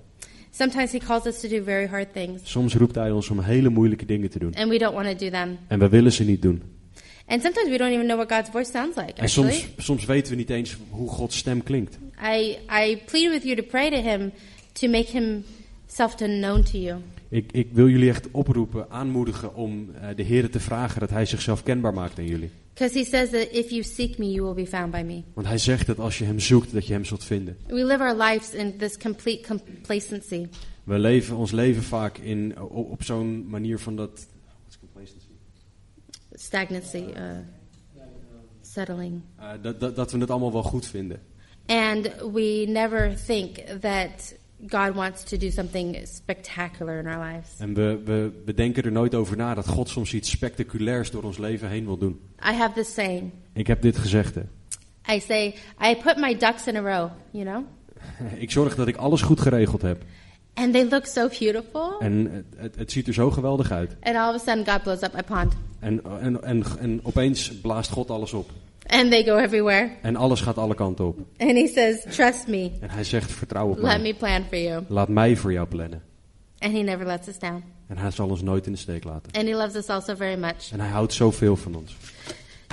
Sometimes He calls us to do very hard things,
Soms roept Hij ons om hele moeilijke dingen te doen.
and we don't want to do them.
En wij willen ze niet doen.
And sometimes we don't even know what God's voice sounds like,
En
actually.
soms, soms weten we niet eens hoe Gods stem klinkt.
I, I plead with you to pray to Him to make Himself to known to you.
Ik, ik wil jullie echt oproepen, aanmoedigen om eh, de Heer te vragen dat Hij zichzelf kenbaar maakt aan jullie.
Because He says that if you seek me, you will be found by me.
Want Hij zegt dat als je Hem zoekt, dat je Hem zult vinden.
We live our lives in this complete complacency.
We leven ons leven vaak in, eh, o- op zo'n manier van dat...
stagnancy, uh, settling.
eh, dat, dat, dat we het allemaal wel goed vinden.
And we never think that God wants to do something spectacular in our lives.
En we, we, we denken er nooit over na dat God soms iets spectaculairs door ons leven heen wil doen.
I have this saying
Ik heb dit gezegd. Hè.
I say, I put my ducks in a row, you know?
Ik zorg dat ik alles goed geregeld heb.
And they look so beautiful.
En het, het, het ziet er zo geweldig uit.
And all of a sudden, God blows up my pond.
En, en, en, en opeens blaast God alles op.
And they go everywhere.
En alles gaat alle kanten op.
And He says, Trust me,
En hij zegt, vertrouw op
let
mij.
me plan for you.
Laat mij voor jou plannen.
And He never lets us down.
En hij zal ons nooit in de steek laten.
And He loves us also very much.
En hij houdt zoveel van ons.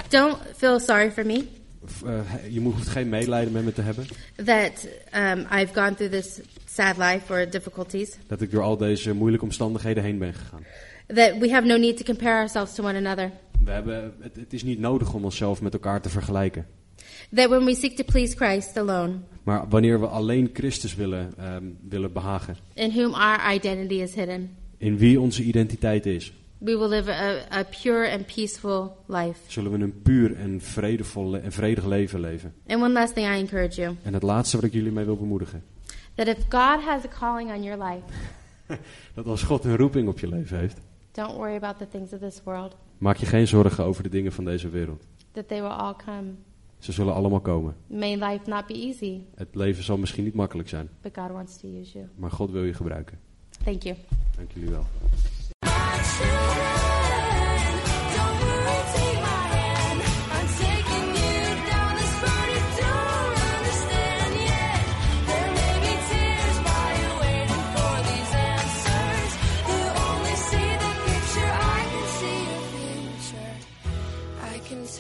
Don't feel sorry for me.
V- eh, je moet- hoeft geen medelijden met me te hebben.
that um, I've gone through this sad life or difficulties,
Dat ik door al deze moeilijke omstandigheden heen ben gegaan.
that we have no need to compare ourselves to one another,
We hebben, het, het is niet nodig om onszelf met elkaar te vergelijken.
that when we seek to please Christ alone,
Maar wanneer we alleen Christus willen, ehm, willen behagen.
in whom our identity is hidden,
In wie onze identiteit is.
we will live a, a pure and peaceful life.
Zullen we een puur en, vredevol le- en vredig leven leven.
And one last thing I encourage you
En het laatste wat ik jullie mee wil bemoedigen.
that if God has a calling on your life,
Dat als God een roeping op je leven heeft.
don't worry about the things of this world,
Maak je geen zorgen over de dingen van deze wereld.
that they will all come.
Ze zullen allemaal komen.
May life not be easy,
Het leven zal misschien niet makkelijk zijn.
but God wants to use you.
Maar God wil je gebruiken.
Thank you.
Dank jullie wel.
My children, don't worry, take my hand. I'm taking you down this road you don't understand yet. There may be tears while you're waiting for these answers. You only see the picture, I can see your future. I can